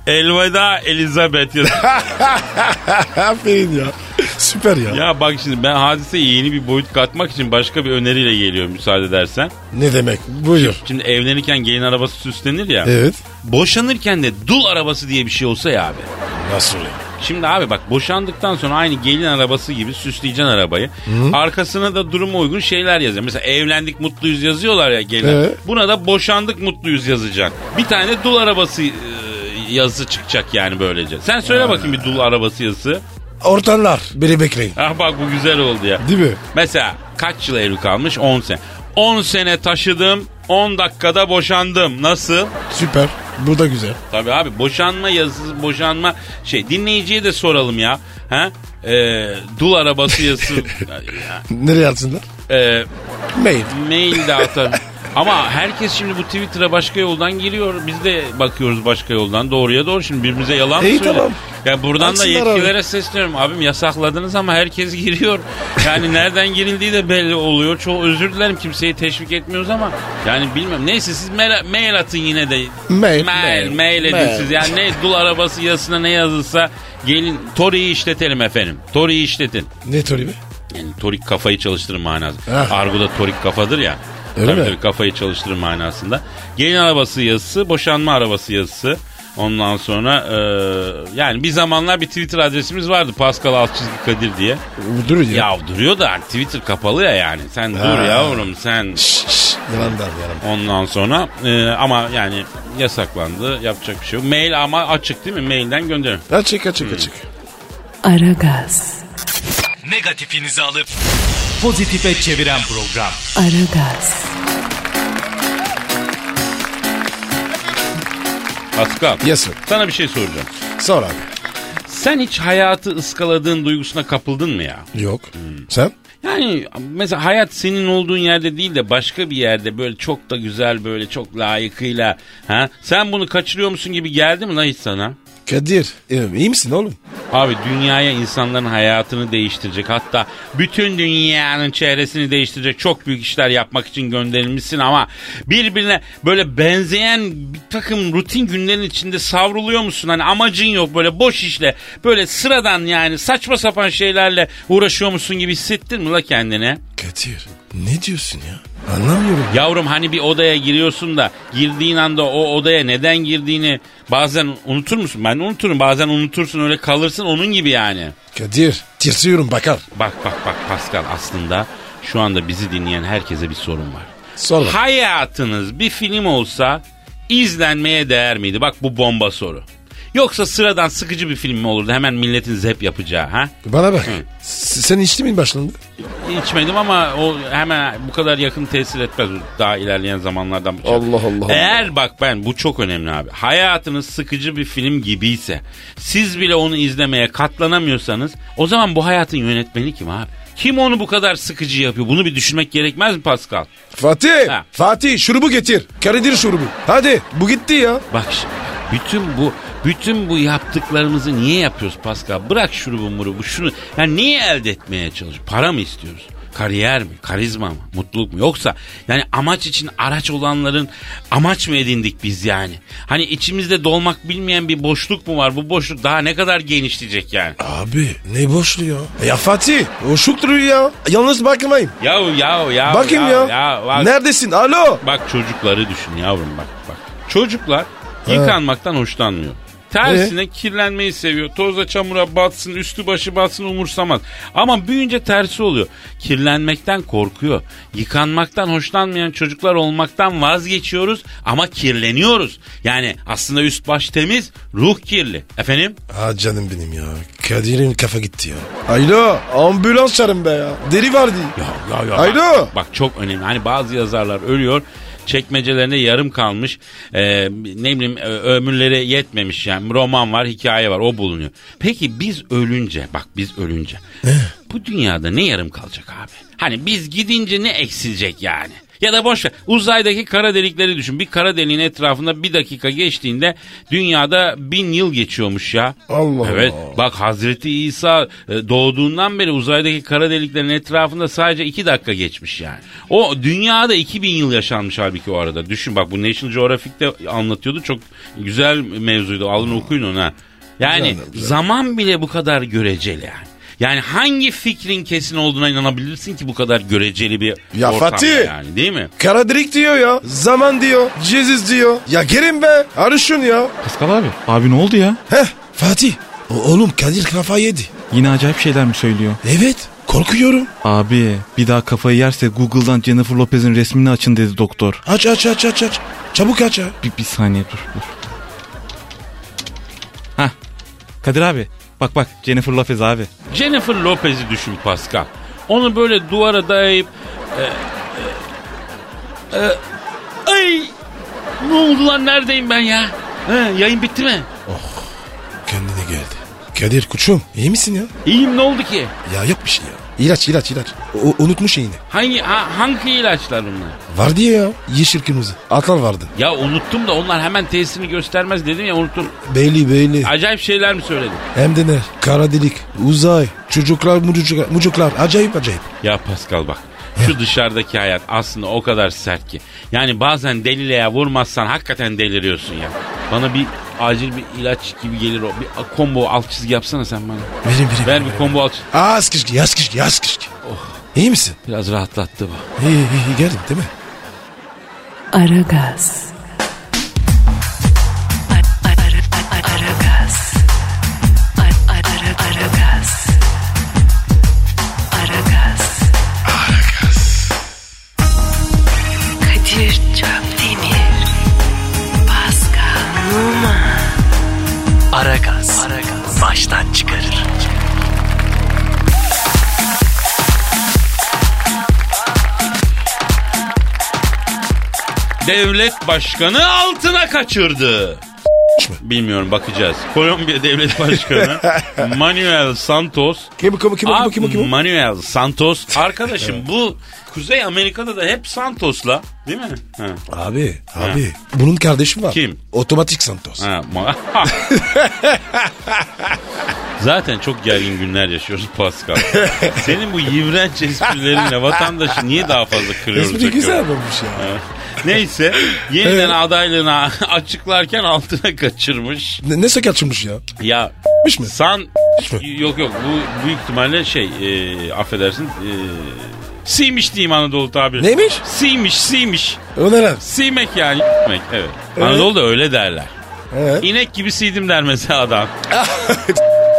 [SPEAKER 3] Elveda Elizabeth yazısı.
[SPEAKER 4] Aferin ya. Süper ya.
[SPEAKER 3] Ya bak şimdi ben hadiseye yeni bir boyut katmak için başka bir öneriyle geliyorum müsaade edersen.
[SPEAKER 4] Ne demek? Buyur.
[SPEAKER 3] Şimdi evlenirken gelin arabası süslenir ya.
[SPEAKER 4] Evet.
[SPEAKER 3] Boşanırken de dul arabası diye bir şey olsa ya abi.
[SPEAKER 4] Nasıl ya?
[SPEAKER 3] Şimdi abi bak boşandıktan sonra aynı gelin arabası gibi süsleyeceksin arabayı. Arkasına da duruma uygun şeyler yazıyor. Mesela evlendik mutluyuz yazıyorlar ya gelin.
[SPEAKER 4] Evet.
[SPEAKER 3] Buna da boşandık mutluyuz yazacaksın. Bir tane dul arabası e, yazısı çıkacak yani böylece. Sen söyle bakayım bir dul arabası yazısı.
[SPEAKER 4] Ortanlar. Beni bekleyin.
[SPEAKER 3] Ah bak bu güzel oldu ya.
[SPEAKER 4] Değil mi?
[SPEAKER 3] Mesela kaç yıl evli kalmış? 10 sene. 10 sene taşıdım, 10 dakikada boşandım. Nasıl?
[SPEAKER 4] Süper. Bu da güzel.
[SPEAKER 3] Tabii abi boşanma yazısı, boşanma şey dinleyiciye de soralım ya. Ha? Ee, dul arabası yazısı
[SPEAKER 4] Nereye atsınlar?
[SPEAKER 3] Ee,
[SPEAKER 4] Mail.
[SPEAKER 3] mail de atar. Ama herkes şimdi bu Twitter'a başka yoldan giriyor. Biz de bakıyoruz başka yoldan. Doğruya doğru şimdi birbirimize yalan mı
[SPEAKER 4] İyi,
[SPEAKER 3] söylüyor?
[SPEAKER 4] tamam.
[SPEAKER 3] Ya buradan da
[SPEAKER 4] Atsınlar
[SPEAKER 3] yetkililere sesleniyorum. Abim yasakladınız ama herkes giriyor. Yani nereden girildiği de belli oluyor. Çok özür dilerim kimseyi teşvik etmiyoruz ama yani bilmem. Neyse siz mera- mail atın yine de.
[SPEAKER 4] Mail,
[SPEAKER 3] Mail,
[SPEAKER 4] mail,
[SPEAKER 3] mail edin
[SPEAKER 4] mail.
[SPEAKER 3] siz. Yani ne dul arabası yazısına ne yazılsa gelin Tori'yi işletelim efendim. Tori'yi işletin.
[SPEAKER 4] Ne tori be?
[SPEAKER 3] Yani torik kafayı çalıştırır manasında.
[SPEAKER 4] Heh.
[SPEAKER 3] Argo'da torik kafadır ya.
[SPEAKER 4] Eh. Öyle
[SPEAKER 3] tabii
[SPEAKER 4] mi?
[SPEAKER 3] tabii kafayı çalıştırır manasında. Gelin arabası yazısı, boşanma arabası yazısı. Ondan sonra e, yani bir zamanlar bir Twitter adresimiz vardı. Pascal Altçizgi Kadir diye.
[SPEAKER 4] Dur ya.
[SPEAKER 3] Ya duruyor da hani Twitter kapalı ya yani. Sen dur yavrum sen.
[SPEAKER 4] Şş, şş, Yalan der yalan.
[SPEAKER 3] Ondan sonra e, ama yani yasaklandı. Yapacak bir şey yok. Mail ama açık değil mi? Mailden gönderin.
[SPEAKER 4] Açık açık açık.
[SPEAKER 2] Aragaz,
[SPEAKER 5] Negatifinizi alıp pozitife çeviren program.
[SPEAKER 2] Aragaz,
[SPEAKER 3] Pascal.
[SPEAKER 4] Yes sir.
[SPEAKER 3] Sana bir şey soracağım.
[SPEAKER 4] Sor abi.
[SPEAKER 3] Sen hiç hayatı ıskaladığın duygusuna kapıldın mı ya?
[SPEAKER 4] Yok. Hmm. Sen?
[SPEAKER 3] Yani mesela hayat senin olduğun yerde değil de başka bir yerde böyle çok da güzel böyle çok layıkıyla ha sen bunu kaçırıyor musun gibi geldi mi lan hiç sana?
[SPEAKER 4] Kadir. e, iyi misin oğlum?
[SPEAKER 3] Abi dünyaya insanların hayatını değiştirecek hatta bütün dünyanın çehresini değiştirecek çok büyük işler yapmak için gönderilmişsin ama birbirine böyle benzeyen bir takım rutin günlerin içinde savruluyor musun? Hani amacın yok böyle boş işle böyle sıradan yani saçma sapan şeylerle uğraşıyor musun gibi hissettin mi la kendini?
[SPEAKER 4] Kadir. Ne diyorsun ya? Anlamıyorum.
[SPEAKER 3] Yavrum hani bir odaya giriyorsun da girdiğin anda o odaya neden girdiğini bazen unutur musun? Ben unuturum bazen unutursun öyle kalırsın onun gibi yani.
[SPEAKER 4] Kadir. Tirsiyorum bakar.
[SPEAKER 3] Bak bak bak Pascal aslında şu anda bizi dinleyen herkese bir sorun var.
[SPEAKER 4] Sor bak.
[SPEAKER 3] Hayatınız bir film olsa izlenmeye değer miydi? Bak bu bomba soru. Yoksa sıradan sıkıcı bir film mi olurdu hemen milletin zep yapacağı ha?
[SPEAKER 4] Bana bak. S- Sen içti mi başlandı?
[SPEAKER 3] İçmedim ama o hemen bu kadar yakın tesir etmez daha ilerleyen zamanlardan. bu çağ-
[SPEAKER 4] Allah Allah.
[SPEAKER 3] Eğer bak ben bu çok önemli abi. Hayatınız sıkıcı bir film gibiyse siz bile onu izlemeye katlanamıyorsanız o zaman bu hayatın yönetmeni kim abi? Kim onu bu kadar sıkıcı yapıyor? Bunu bir düşünmek gerekmez mi Pascal?
[SPEAKER 4] Fatih.
[SPEAKER 3] Ha.
[SPEAKER 4] Fatih şurubu getir. Kadir şurubu. Hadi. Bu gitti ya.
[SPEAKER 3] Bak şimdi bütün bu bütün bu yaptıklarımızı niye yapıyoruz Pascal? Bırak şurubu murubu şunu. Yani neyi elde etmeye çalış? Para mı istiyoruz? Kariyer mi? Karizma mı? Mutluluk mu? Yoksa yani amaç için araç olanların amaç mı edindik biz yani? Hani içimizde dolmak bilmeyen bir boşluk mu var? Bu boşluk daha ne kadar genişleyecek yani?
[SPEAKER 4] Abi ne boşluğu ya. Ya Fatih. O şuktur ya. Yalnız bakmayayım.
[SPEAKER 3] Yahu yahu yahu.
[SPEAKER 4] Bakayım ya.
[SPEAKER 3] yahu, yahu, bak-
[SPEAKER 4] Neredesin? Alo.
[SPEAKER 3] Bak çocukları düşün yavrum bak bak. Çocuklar yıkanmaktan hoşlanmıyor. Tersine kirlenmeyi seviyor. Toza çamura batsın, üstü başı batsın umursamaz. Ama büyüyünce tersi oluyor. Kirlenmekten korkuyor. Yıkanmaktan hoşlanmayan çocuklar olmaktan vazgeçiyoruz ama kirleniyoruz. Yani aslında üst baş temiz, ruh kirli. Efendim?
[SPEAKER 4] Ha canım benim ya. Kadir'in kafa gitti ya. Alo. Ambulans çağırın be ya. Deri vardı.
[SPEAKER 3] Ya ya ya.
[SPEAKER 4] Haydi.
[SPEAKER 3] Bak, bak çok önemli. Hani bazı yazarlar ölüyor. Çekmecelerinde yarım kalmış. Ee, ne bileyim ö- ömürlere yetmemiş yani. Roman var, hikaye var. O bulunuyor. Peki biz ölünce, bak biz ölünce. bu dünyada ne yarım kalacak abi? Hani biz gidince ne eksilecek yani? Ya da boş ver. Uzaydaki kara delikleri düşün. Bir kara deliğin etrafında bir dakika geçtiğinde dünyada bin yıl geçiyormuş ya.
[SPEAKER 4] Allah
[SPEAKER 3] Evet.
[SPEAKER 4] Allah.
[SPEAKER 3] Bak Hazreti İsa e, doğduğundan beri uzaydaki kara deliklerin etrafında sadece 2 dakika geçmiş yani. O dünyada 2000 yıl yaşanmış halbuki o arada. Düşün bak bu National Geographic'te anlatıyordu. Çok güzel mevzuydu. Alın okuyun ona. Yani zaman bile bu kadar göreceli yani. Yani hangi fikrin kesin olduğuna inanabilirsin ki bu kadar göreceli bir
[SPEAKER 4] Ya
[SPEAKER 3] ortamda
[SPEAKER 4] Fatih!
[SPEAKER 3] yani değil mi?
[SPEAKER 4] Kara direkt diyor ya. Zaman diyor. Jesus diyor. Ya gelin be. Arışın ya.
[SPEAKER 6] Pascal abi. Abi ne oldu ya?
[SPEAKER 4] Heh Fatih. O- oğlum Kadir kafa yedi.
[SPEAKER 6] Yine acayip şeyler mi söylüyor?
[SPEAKER 4] Evet korkuyorum.
[SPEAKER 6] Abi bir daha kafayı yerse Google'dan Jennifer Lopez'in resmini açın dedi doktor.
[SPEAKER 4] Aç aç aç aç aç. Çabuk aç ya.
[SPEAKER 6] Bir, bir saniye dur dur. Hah. Kadir abi. Bak bak Jennifer Lopez abi.
[SPEAKER 3] Jennifer Lopez'i düşün Pascal. Onu böyle duvara dayayıp... e, e, e, ay! Ne oldu lan neredeyim ben ya? He, yayın bitti mi?
[SPEAKER 4] Kendine geldi. Kadir kuçum iyi misin ya?
[SPEAKER 3] İyiyim ne oldu ki?
[SPEAKER 4] Ya yok bir şey ya. İlaç ilaç ilaç. O, unutmuş iğne.
[SPEAKER 3] Hangi ha- hangi ilaçlar bunlar?
[SPEAKER 4] Var diye ya. Yeşil kırmızı. Atlar vardı.
[SPEAKER 3] Ya unuttum da onlar hemen tesirini göstermez dedim ya unuttum.
[SPEAKER 4] Belli belli.
[SPEAKER 3] Acayip şeyler mi söyledim?
[SPEAKER 4] Hem de ne? Kara delik. Uzay. Çocuklar mucuklar. Mucuklar. Acayip acayip.
[SPEAKER 3] Ya Pascal bak şu dışarıdaki hayat aslında o kadar sert ki. Yani bazen delileye vurmazsan hakikaten deliriyorsun ya. Bana bir acil bir ilaç gibi gelir o. Bir combo alt çizgi yapsana sen bana.
[SPEAKER 4] Verin verin.
[SPEAKER 3] Ver bir Oh. combo alt çizgi.
[SPEAKER 4] Az kışkı yaz kışkı yaz kışkı. İyi misin?
[SPEAKER 3] Biraz rahatlattı bu.
[SPEAKER 4] İyi iyi, iyi geldin değil mi?
[SPEAKER 2] Aragaz. Aragaz. Aragaz. Aragaz. Kadir Çöptemir. Pascal Numa.
[SPEAKER 5] Aragaz. Baştan çıkarır.
[SPEAKER 3] Devlet başkanı altına kaçırdı. Bilmiyorum bakacağız. Kolombiya Devlet Başkanı Manuel Santos
[SPEAKER 4] Kim bu kim bu kim bu kim bu, kim bu, kim bu?
[SPEAKER 3] Manuel Santos. Arkadaşım bu Kuzey Amerika'da da hep Santos'la değil mi? Ha.
[SPEAKER 4] Abi abi. Bunun kardeşi var.
[SPEAKER 3] Kim?
[SPEAKER 4] Otomatik Santos.
[SPEAKER 3] Ha, ma- Zaten çok gergin günler yaşıyoruz Pascal. Senin bu iğrenç esprilerinle vatandaşı niye daha fazla kırıyoruz?
[SPEAKER 4] Espri güzel
[SPEAKER 3] acaba?
[SPEAKER 4] olmuş ya.
[SPEAKER 3] Neyse yeniden adaylığını açıklarken altına kaçırmış.
[SPEAKER 4] Ne, ne sokaçmış ya?
[SPEAKER 3] Ya
[SPEAKER 4] Miş mi?
[SPEAKER 3] san
[SPEAKER 4] mı?
[SPEAKER 3] yok yok bu büyük ihtimalle şey e, affedersin e, siymiş diyeyim Anadolu tabiri.
[SPEAKER 4] Neymiş?
[SPEAKER 3] Siymiş siymiş.
[SPEAKER 4] O ne lan?
[SPEAKER 3] Siymek yani y**mek, evet. Anadolu'da öyle derler.
[SPEAKER 4] Evet.
[SPEAKER 3] İnek gibi siydim der mesela adam.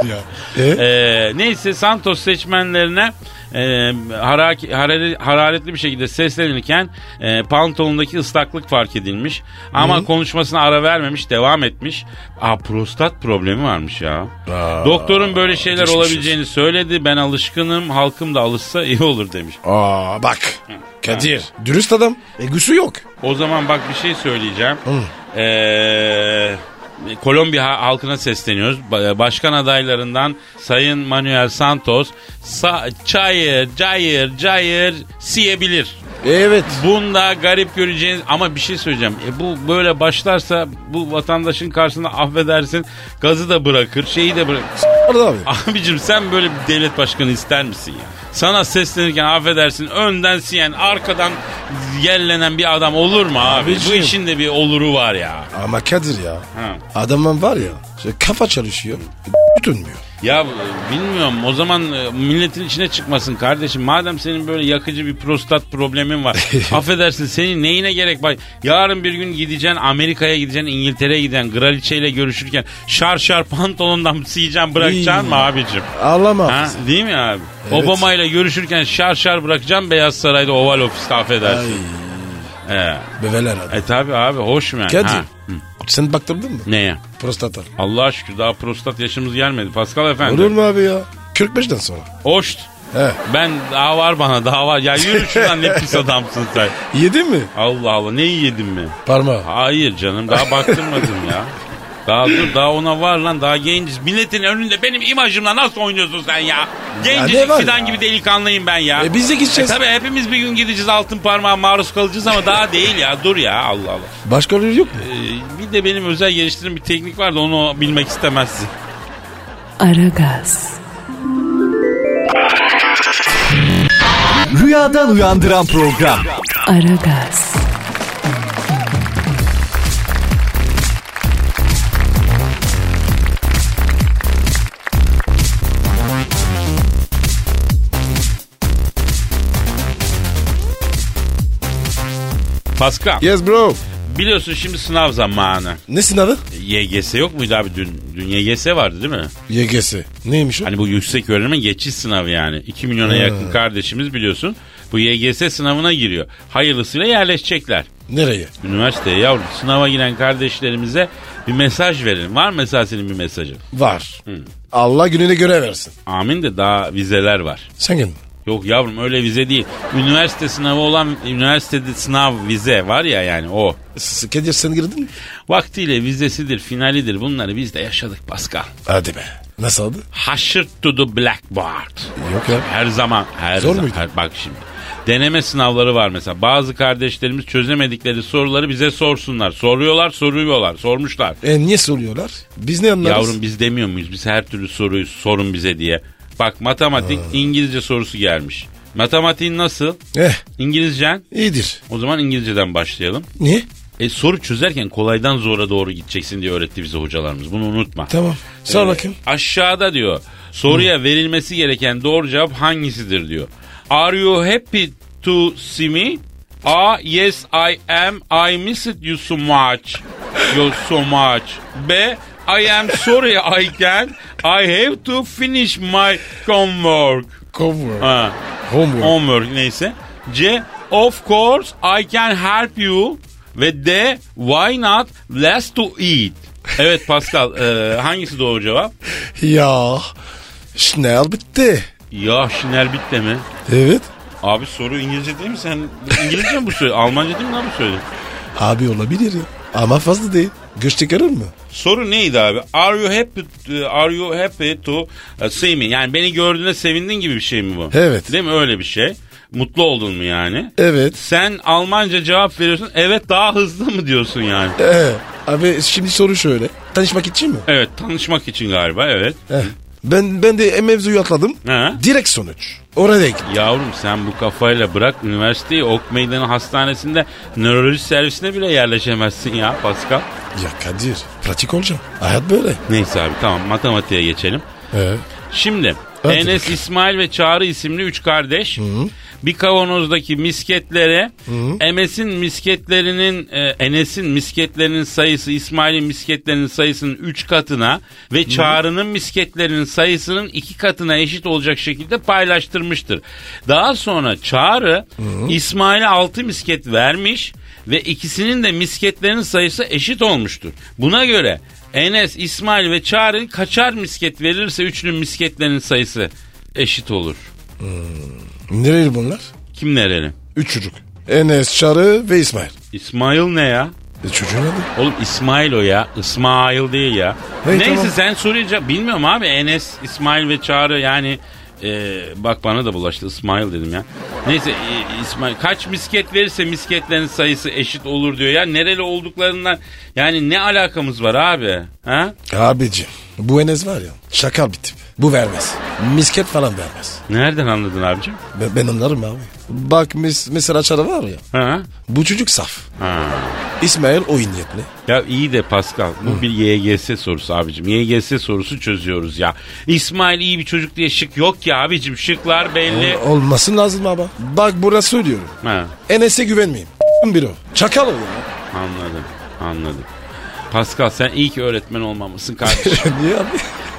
[SPEAKER 4] Ya. E?
[SPEAKER 3] Ee, neyse Santos seçmenlerine e, haraki- harare- hararetli bir şekilde seslenirken e, pantolondaki ıslaklık fark edilmiş. Ama konuşmasına ara vermemiş, devam etmiş. Aa prostat problemi varmış ya. Doktorun böyle şeyler
[SPEAKER 4] geçmiş
[SPEAKER 3] olabileceğini söyledi. Ben alışkınım, halkım da alışsa iyi olur demiş.
[SPEAKER 4] Aa bak. Kadir. Dürüst adam. Egosu yok.
[SPEAKER 3] O zaman bak bir şey söyleyeceğim. Ee, Kolombiya ha- halkına sesleniyoruz. Ba- e, Başkan adaylarından Sayın Manuel Santos sa- çayır, cayır, cayır siyebilir.
[SPEAKER 4] E, Evet.
[SPEAKER 3] Bunda garip göreceğiniz ama bir şey söyleyeceğim. E bu böyle başlarsa bu vatandaşın karşısında affedersin gazı da bırakır, şeyi de bırakır.
[SPEAKER 4] Orada abi.
[SPEAKER 3] Abicim sen böyle bir devlet başkanı ister misin ya? Sana seslenirken affedersin önden siyen arkadan yellenen bir adam olur mu abi? Bu
[SPEAKER 4] Abicim.
[SPEAKER 3] işin de bir oluru var ya.
[SPEAKER 4] Ama Kadir ya.
[SPEAKER 3] Ha.
[SPEAKER 4] Adamın var ya. şey, Kafa çalışıyor. Dönmüyor.
[SPEAKER 3] Ya e, bilmiyorum o zaman e, milletin içine çıkmasın kardeşim. Madem senin böyle yakıcı bir prostat problemin var. affedersin senin neyine gerek var? Yarın bir gün gideceksin Amerika'ya gideceksin İngiltere'ye gideceksin. Kraliçe ile görüşürken şar şar pantolondan siyeceksin bırakacaksın mı abicim?
[SPEAKER 4] Ağlama.
[SPEAKER 3] Ha,
[SPEAKER 4] hafız.
[SPEAKER 3] değil mi abi?
[SPEAKER 4] Evet.
[SPEAKER 3] Obama ile görüşürken şar şar bırakacağım Beyaz Saray'da Oval Ofis'te affedersin. Ee,
[SPEAKER 4] Beveler adam.
[SPEAKER 3] e tabi abi hoş mu? yani?
[SPEAKER 4] Kadir.
[SPEAKER 3] Ha,
[SPEAKER 4] Sen baktırdın mı?
[SPEAKER 3] Neye?
[SPEAKER 4] Prostata.
[SPEAKER 3] Allah'a şükür daha prostat yaşımız gelmedi. Pascal efendi.
[SPEAKER 4] Olur mu abi ya? 45'den sonra.
[SPEAKER 3] Hoş.
[SPEAKER 4] He.
[SPEAKER 3] Ben daha var bana daha var. Ya yürü şuradan ne pis adamsın sen.
[SPEAKER 4] Yedin mi?
[SPEAKER 3] Allah Allah neyi yedin mi?
[SPEAKER 4] Parmağı.
[SPEAKER 3] Hayır canım daha baktırmadım ya. Daha dur daha ona var lan daha genciz. Milletin önünde benim imajımla nasıl oynuyorsun sen ya?
[SPEAKER 4] Ya ne
[SPEAKER 3] Gencecik
[SPEAKER 4] var
[SPEAKER 3] fidan
[SPEAKER 4] ya?
[SPEAKER 3] gibi delikanlıyım ben ya.
[SPEAKER 4] E biz de
[SPEAKER 3] E
[SPEAKER 4] gideceğiz.
[SPEAKER 3] tabii hepimiz bir gün gideceğiz altın parmağa maruz kalacağız ama daha değil ya dur ya Allah Allah.
[SPEAKER 4] Başka yolu yok mu?
[SPEAKER 3] Ee, bir de benim özel geliştirdiğim bir teknik var da onu bilmek istemezsin.
[SPEAKER 2] Aragaz.
[SPEAKER 5] Rüyadan uyandıran program.
[SPEAKER 2] Aragaz.
[SPEAKER 3] Pascal
[SPEAKER 4] Yes bro.
[SPEAKER 3] biliyorsun şimdi sınav zamanı.
[SPEAKER 4] Ne sınavı?
[SPEAKER 3] YGS yok muydu abi dün? Dün YGS vardı değil mi?
[SPEAKER 4] YGS. Neymiş o?
[SPEAKER 3] Hani bu yüksek öğrenimin geçiş sınavı yani. 2 milyona yakın kardeşimiz biliyorsun bu YGS sınavına giriyor. Hayırlısıyla yerleşecekler.
[SPEAKER 4] Nereye?
[SPEAKER 3] Üniversiteye yavrum sınava giren kardeşlerimize bir mesaj verin. Var mı mesela senin bir mesajın?
[SPEAKER 4] Var. Allah gününe göre versin.
[SPEAKER 3] Amin de daha vizeler var.
[SPEAKER 4] Sen gel.
[SPEAKER 3] Yok yavrum öyle vize değil. Üniversite sınavı olan üniversitede sınav vize var ya yani o.
[SPEAKER 4] S- Kadir sen girdin mi?
[SPEAKER 3] Vaktiyle vizesidir, finalidir bunları biz de yaşadık Pascal.
[SPEAKER 4] Hadi be. Nasıl oldu?
[SPEAKER 3] Haşır to the blackboard.
[SPEAKER 4] Yok ya.
[SPEAKER 3] Her zaman. Her
[SPEAKER 4] Zor
[SPEAKER 3] zaman.
[SPEAKER 4] muydu?
[SPEAKER 3] Her- bak şimdi. Deneme sınavları var mesela. Bazı kardeşlerimiz çözemedikleri soruları bize sorsunlar. Soruyorlar, soruyorlar, sormuşlar.
[SPEAKER 4] E niye soruyorlar? Biz ne anlarız?
[SPEAKER 3] Yavrum biz demiyor muyuz? Biz her türlü soruyu sorun bize diye. Bak matematik İngilizce sorusu gelmiş. Matematiğin nasıl?
[SPEAKER 4] Eh
[SPEAKER 3] İngilizcen?
[SPEAKER 4] iyidir.
[SPEAKER 3] O zaman İngilizceden başlayalım.
[SPEAKER 4] Niye?
[SPEAKER 3] E soru çözerken kolaydan zora doğru gideceksin diye öğretti bize hocalarımız. Bunu unutma.
[SPEAKER 4] Tamam. Sor
[SPEAKER 3] Ee,
[SPEAKER 4] bakayım.
[SPEAKER 3] Aşağıda diyor. Soruya verilmesi gereken doğru cevap hangisidir diyor. Are you happy to see me? A. Yes I am. I miss it you so much. You so much. B. I am sorry I can. I have to finish my homework.
[SPEAKER 4] Homework.
[SPEAKER 3] Ha.
[SPEAKER 4] Homework.
[SPEAKER 3] Homework neyse. C. Of course I can help you. Ve D. Why not? Let's to eat. Evet Pascal e, hangisi doğru cevap?
[SPEAKER 4] Ya. Schnell bitti.
[SPEAKER 3] Ya şinel bitle mi?
[SPEAKER 4] Evet.
[SPEAKER 3] Abi soru İngilizce değil mi sen? İngilizce mi bu söyle? Almanca değil mi lan bu söyle?
[SPEAKER 4] Abi olabilir ya. Ama fazla değil. Göç çıkarır mı?
[SPEAKER 3] Soru neydi abi? Are you happy to, are you happy to uh, see me? Yani beni gördüğüne sevindin gibi bir şey mi bu?
[SPEAKER 4] Evet.
[SPEAKER 3] Değil mi öyle bir şey? Mutlu oldun mu yani?
[SPEAKER 4] Evet.
[SPEAKER 3] Sen Almanca cevap veriyorsun. Evet daha hızlı mı diyorsun yani?
[SPEAKER 4] Ee, abi şimdi soru şöyle. Tanışmak için mi?
[SPEAKER 3] Evet tanışmak için galiba evet.
[SPEAKER 4] Eh, Ben ben de e mevzuyu atladım.
[SPEAKER 3] Ha?
[SPEAKER 4] Direkt sonuç. Oraya git.
[SPEAKER 3] Yavrum sen bu kafayla bırak üniversiteyi ok meydanı hastanesinde nöroloji servisine bile yerleşemezsin ya Pascal.
[SPEAKER 4] Ya Kadir pratik olacağım. Hayat böyle.
[SPEAKER 3] Neyse abi tamam matematiğe geçelim.
[SPEAKER 4] Ee,
[SPEAKER 3] Şimdi
[SPEAKER 4] Hadi
[SPEAKER 3] Enes,
[SPEAKER 4] bakalım.
[SPEAKER 3] İsmail ve Çağrı isimli üç kardeş bir kavanozdaki misketlere Enes'in misketlerinin e, Enes'in misketlerinin sayısı İsmail'in misketlerinin sayısının 3 katına ve Çağrı'nın misketlerinin sayısının 2 katına eşit olacak şekilde paylaştırmıştır. Daha sonra Çağrı İsmail'e 6 misket vermiş ve ikisinin de misketlerinin sayısı eşit olmuştur. Buna göre Enes, İsmail ve Çağrı kaçar misket verirse üçünün misketlerinin sayısı eşit olur.
[SPEAKER 4] nereli bunlar?
[SPEAKER 3] Kim nereli?
[SPEAKER 4] Üç çocuk. Enes, Çarı ve İsmail.
[SPEAKER 3] İsmail ne ya?
[SPEAKER 4] E, çocuğun adı?
[SPEAKER 3] Oğlum İsmail o ya. İsmail değil ya.
[SPEAKER 4] Hey,
[SPEAKER 3] Neyse
[SPEAKER 4] tamam.
[SPEAKER 3] sen sorunca bilmiyorum abi Enes, İsmail ve Çağrı yani e, bak bana da bulaştı İsmail dedim ya. Neyse e, İsmail kaç misket verirse misketlerin sayısı eşit olur diyor ya. Nereli olduklarından yani ne alakamız var abi? Ha?
[SPEAKER 4] Abicim bu Enes var ya şakal bir tip. Bu vermez. Misket falan vermez.
[SPEAKER 3] Nereden anladın abicim?
[SPEAKER 4] Ben, ben anlarım abi. Bak mis, mesela Çarı var ya.
[SPEAKER 3] Ha?
[SPEAKER 4] Bu çocuk saf.
[SPEAKER 3] Ha.
[SPEAKER 4] İsmail oyun niyetli.
[SPEAKER 3] Ya iyi de Pascal bu bir YGS sorusu abicim. YGS sorusu çözüyoruz ya. İsmail iyi bir çocuk diye şık yok ya abicim. Şıklar belli.
[SPEAKER 4] Ol- olmasın lazım abi. Bak burası söylüyorum.
[SPEAKER 3] Ha,
[SPEAKER 4] Enes'e güvenmeyin. Bir o. Çakal o ya.
[SPEAKER 3] anladım anladım. Pascal sen iyi ki öğretmen olmamışsın kardeşim.
[SPEAKER 4] Niye abi?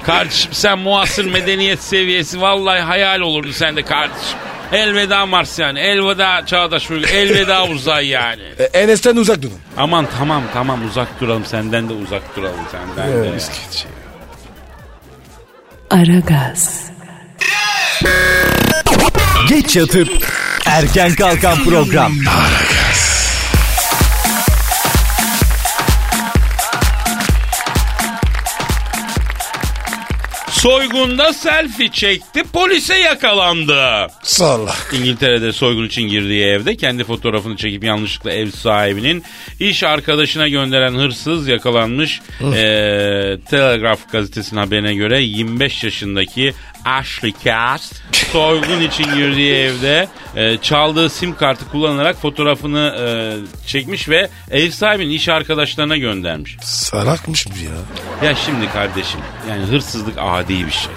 [SPEAKER 3] kardeşim sen muasır medeniyet seviyesi vallahi hayal olurdu sende kardeşim. Elveda Mars yani. Elveda Çağdaş Uygur. Elveda uzay yani.
[SPEAKER 4] E, Enes'ten uzak durun.
[SPEAKER 3] Aman tamam tamam uzak duralım senden de uzak duralım senden de.
[SPEAKER 4] Misket.
[SPEAKER 2] Aragaz,
[SPEAKER 5] Geç yatıp erken kalkan program.
[SPEAKER 3] Soygunda selfie çekti polise yakalandı.
[SPEAKER 4] Salla.
[SPEAKER 3] İngiltere'de soygun için girdiği evde kendi fotoğrafını çekip yanlışlıkla ev sahibinin iş arkadaşına gönderen hırsız yakalanmış. Ee, Telegraph gazetesinin haberine göre 25 yaşındaki Ashley Cass soygun için girdiği evde e, çaldığı sim kartı kullanarak fotoğrafını e, çekmiş ve ev sahibinin iş arkadaşlarına göndermiş.
[SPEAKER 4] Salakmış bu ya.
[SPEAKER 3] Ya şimdi kardeşim yani hırsızlık adi bir şey.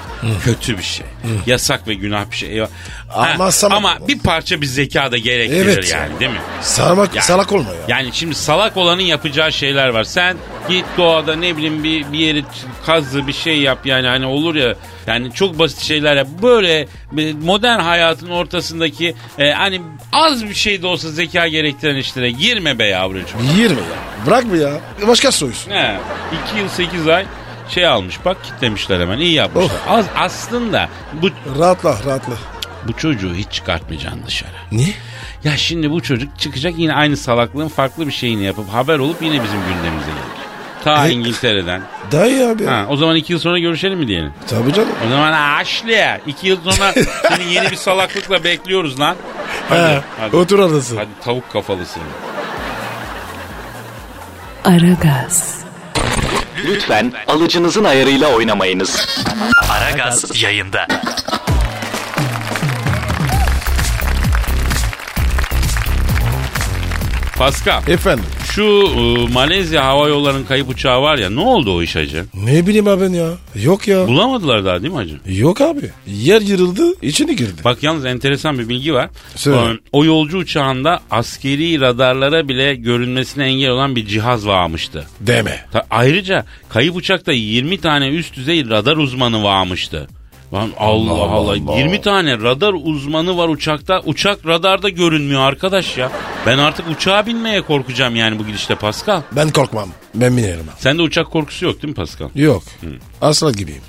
[SPEAKER 3] kötü bir şey. Yasak ve günah bir şey. Eyvah. Ha,
[SPEAKER 4] Ama sana-
[SPEAKER 3] ama bir parça bir zeka da gerektirir
[SPEAKER 4] Evet.
[SPEAKER 3] yani değil mi?
[SPEAKER 4] Sarmak,
[SPEAKER 3] Yani-
[SPEAKER 4] salak olma ya.
[SPEAKER 3] Yani şimdi salak olanın yapacağı şeyler var. Sen git doğada ne bileyim bir, bir yeri kazdı bir şey yap yani hani olur ya. Yani çok basit şeyler yap. Böyle bir modern hayatın ortasındaki e, hani az bir şey de olsa zeka gerektiren işlere girme be yavrucuğum.
[SPEAKER 4] Yirmi ya. Bırak mı ya? Başka soyuz.
[SPEAKER 3] He, 2 yıl 8 ay şey almış bak kitlemişler hemen iyi yapmışlar. Az aslında bu
[SPEAKER 4] Rahatla rahatla.
[SPEAKER 3] bu çocuğu hiç çıkartmayacaksın dışarı.
[SPEAKER 4] Niye?
[SPEAKER 3] Ya şimdi bu çocuk çıkacak yine aynı salaklığın farklı bir şeyini yapıp haber olup yine bizim gündemimize gelir. Ta
[SPEAKER 4] E-
[SPEAKER 3] İngiltere'den.
[SPEAKER 4] Dayı abi.
[SPEAKER 3] Ha, o zaman iki yıl sonra görüşelim mi diyelim?
[SPEAKER 4] Tabii canım.
[SPEAKER 3] O zaman Ashley iki yıl sonra seni yeni bir salaklıkla bekliyoruz lan. Hadi,
[SPEAKER 4] Ha, Otur adası.
[SPEAKER 3] Hadi tavuk kafalısın.
[SPEAKER 2] Aragaz,
[SPEAKER 7] Lütfen alıcınızın ayarıyla oynamayınız. Aragaz yayında.
[SPEAKER 3] Pascal
[SPEAKER 4] Efendim.
[SPEAKER 3] şu e, Malezya hava yollarının kayıp uçağı var ya ne oldu o iş hacı?
[SPEAKER 4] Ne bileyim abi ben ya. Yok ya.
[SPEAKER 3] Bulamadılar daha değil mi hacı?
[SPEAKER 4] Yok abi. Yer yırıldı içine girdi.
[SPEAKER 3] Bak yalnız enteresan bir bilgi var. Ee,
[SPEAKER 4] Söyle.
[SPEAKER 3] O, o yolcu uçağında askeri radarlara bile görünmesine engel olan bir cihaz varmıştı.
[SPEAKER 4] Deme.
[SPEAKER 3] Ta- ayrıca kayıp uçakta 20 tane üst düzey radar uzmanı varmıştı. Lan Allah Allah, 20 tane radar uzmanı var uçakta. Uçak radarda görünmüyor arkadaş ya. Ben artık uçağa binmeye korkacağım yani bu gidişte Pascal.
[SPEAKER 4] Ben korkmam. Ben binerim abi.
[SPEAKER 3] Sende uçak korkusu yok değil mi Pascal?
[SPEAKER 4] Yok. Asla gibiyim.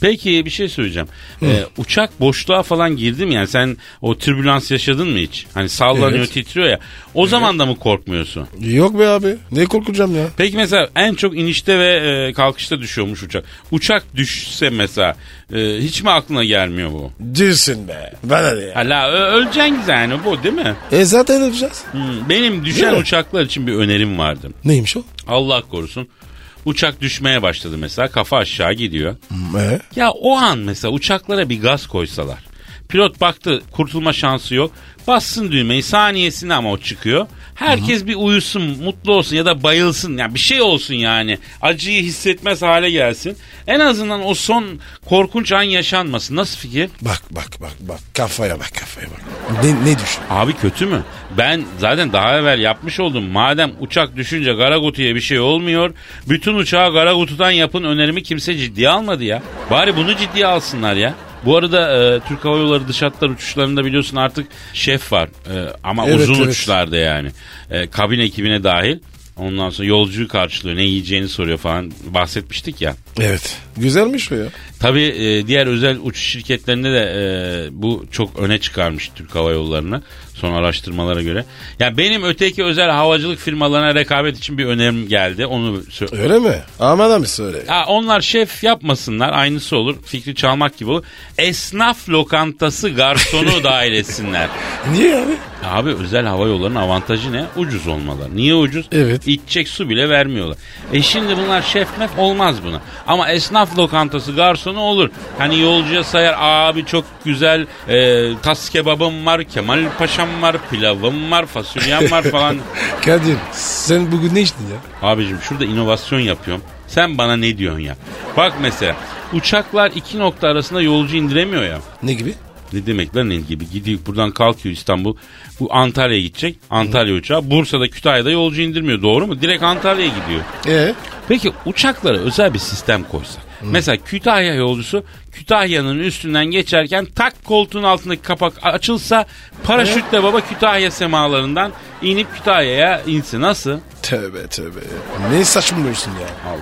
[SPEAKER 3] Peki bir şey söyleyeceğim. Ee, uçak boşluğa falan girdi mi? Yani sen o türbülans yaşadın mı hiç? Hani sallanıyor
[SPEAKER 4] Evet.
[SPEAKER 3] titriyor ya. O zaman da mı korkmuyorsun?
[SPEAKER 4] Yok be abi. Ne korkacağım ya?
[SPEAKER 3] Peki mesela en çok inişte ve e, kalkışta düşüyormuş uçak. Uçak düşse mesela e, hiç mi aklına gelmiyor bu?
[SPEAKER 4] Dilsin be. Bana ne ya?
[SPEAKER 3] Hala ö- öleceksin yani bu değil mi?
[SPEAKER 4] E zaten öleceğiz.
[SPEAKER 3] Hmm, Benim düşen
[SPEAKER 4] Değil mi?
[SPEAKER 3] uçaklar için bir önerim vardı.
[SPEAKER 4] Neymiş o?
[SPEAKER 3] Allah korusun. Uçak düşmeye başladı mesela kafa aşağı gidiyor.
[SPEAKER 4] E?
[SPEAKER 3] Ya o an mesela uçaklara bir gaz koysalar. Pilot baktı kurtulma şansı yok. Bassın düğmeyi saniyesinde ama o çıkıyor. Herkes bir uyusun, mutlu olsun ya da bayılsın. Yani bir şey olsun yani. Acıyı hissetmez hale gelsin. En azından o son korkunç an yaşanmasın. Nasıl fikir?
[SPEAKER 4] Bak bak bak bak. Kafaya bak kafaya bak. Ne, ne düşün?
[SPEAKER 3] Abi kötü mü? Ben zaten daha evvel yapmış oldum. Madem uçak düşünce Garagutu'ya bir şey olmuyor. Bütün uçağı Garagutu'dan yapın önerimi kimse ciddiye almadı ya. Bari bunu ciddiye alsınlar ya. Bu arada e, Türk Hava Yolları dış hatlar uçuşlarında biliyorsun artık şef var. E, ama
[SPEAKER 4] Evet,
[SPEAKER 3] uzun
[SPEAKER 4] evet.
[SPEAKER 3] uçlarda yani. E, kabin ekibine dahil. Ondan sonra yolcuyu karşılıyor. Ne yiyeceğini soruyor falan. Bahsetmiştik ya.
[SPEAKER 4] Evet. Güzelmiş o ya.
[SPEAKER 3] Tabii e, diğer özel uçuş şirketlerinde de e, bu çok öne çıkarmış Türk Hava Yolları'nı son araştırmalara göre. Yani benim öteki özel havacılık firmalarına rekabet için bir önerim geldi. Onu sö-
[SPEAKER 4] Öyle mi? Aman abi söyle.
[SPEAKER 3] Ha, onlar şef yapmasınlar aynısı olur. Fikri çalmak gibi olur. Esnaf lokantası garsonu dahil etsinler.
[SPEAKER 4] Niye abi?
[SPEAKER 3] E Abi özel hava yollarının avantajı ne? Ucuz olmaları. Niye ucuz?
[SPEAKER 4] Evet.
[SPEAKER 3] İçecek su bile vermiyorlar. E şimdi bunlar şef mef olmaz buna. Ama esnaf lokantası garsonu olur. Hani yolcuya sayar abi çok güzel e, tas kebabım var, Kemal Paşam var, pilavım var, fasulyem var falan.
[SPEAKER 4] Kadir sen bugün ne içtin ya?
[SPEAKER 3] Abicim şurada inovasyon yapıyorum. Sen bana ne diyorsun ya? Bak mesela uçaklar iki nokta arasında yolcu indiremiyor ya.
[SPEAKER 4] Ne gibi?
[SPEAKER 3] Ne demek lan ne gibi? Gidiyor buradan kalkıyor İstanbul. Bu Antalya'ya gidecek. Antalya uçağı. Bursa'da Kütahya'da yolcu indirmiyor. Doğru mu? Direkt Antalya'ya gidiyor.
[SPEAKER 4] E
[SPEAKER 3] Peki uçaklara özel bir sistem koysak. Mesela Kütahya yolcusu Kütahya'nın üstünden geçerken tak koltuğun altındaki kapak açılsa paraşütle baba Kütahya semalarından inip Kütahya'ya insin. Nasıl?
[SPEAKER 4] tövbe tövbe. Ne saçmalıyorsun ya?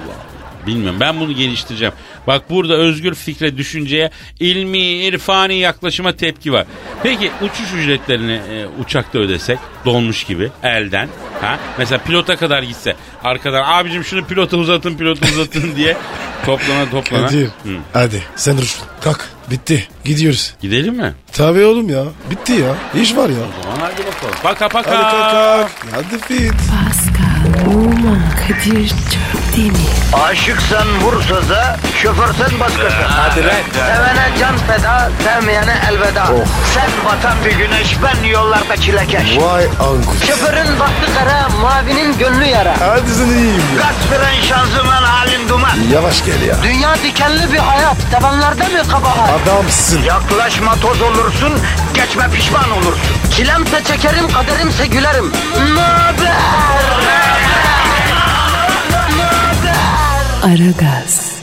[SPEAKER 3] Bilmiyorum ben bunu geliştireceğim. Bak burada özgür fikre, düşünceye, ilmi, irfani yaklaşıma tepki var. Peki uçuş ücretlerini e, uçakta ödesek donmuş gibi elden. ha Mesela pilota kadar gitse arkadan abicim şunu pilota uzatın pilota uzatın diye toplana toplana.
[SPEAKER 4] Kadir.
[SPEAKER 3] Hı.
[SPEAKER 4] Hadi sen dur. Kalk. Bitti. Gidiyoruz.
[SPEAKER 3] Gidelim mi?
[SPEAKER 4] Tabii oğlum ya. Bitti ya. İş var ya.
[SPEAKER 3] Aman hadi bakalım. Paka paka.
[SPEAKER 4] Hadi kalk kalk. Hadi fit.
[SPEAKER 2] Pascal, Oman, Kadir çok değil mi?
[SPEAKER 1] Aşıksan vursa da, şoförsen başkasın. Hadi
[SPEAKER 3] lan.
[SPEAKER 1] Sevene can feda, sevmeyene elveda. Sen batan bir güneş, ben yollarda çilekeş.
[SPEAKER 4] Vay anku.
[SPEAKER 1] Şoförün baktı kara, mavinin gönlü yara.
[SPEAKER 4] Hadi sen iyiyim ya.
[SPEAKER 1] Kasperen şanzıman halin duman.
[SPEAKER 4] Yavaş gel ya.
[SPEAKER 1] Dünya dikenli bir hayat, sevenlerde mi kabahar?
[SPEAKER 4] Adamsın.
[SPEAKER 1] Yaklaşma toz olursun, geçme pişman olursun. Çilemse çekerim, kaderimse gülerim. Möber!
[SPEAKER 2] Aragaz.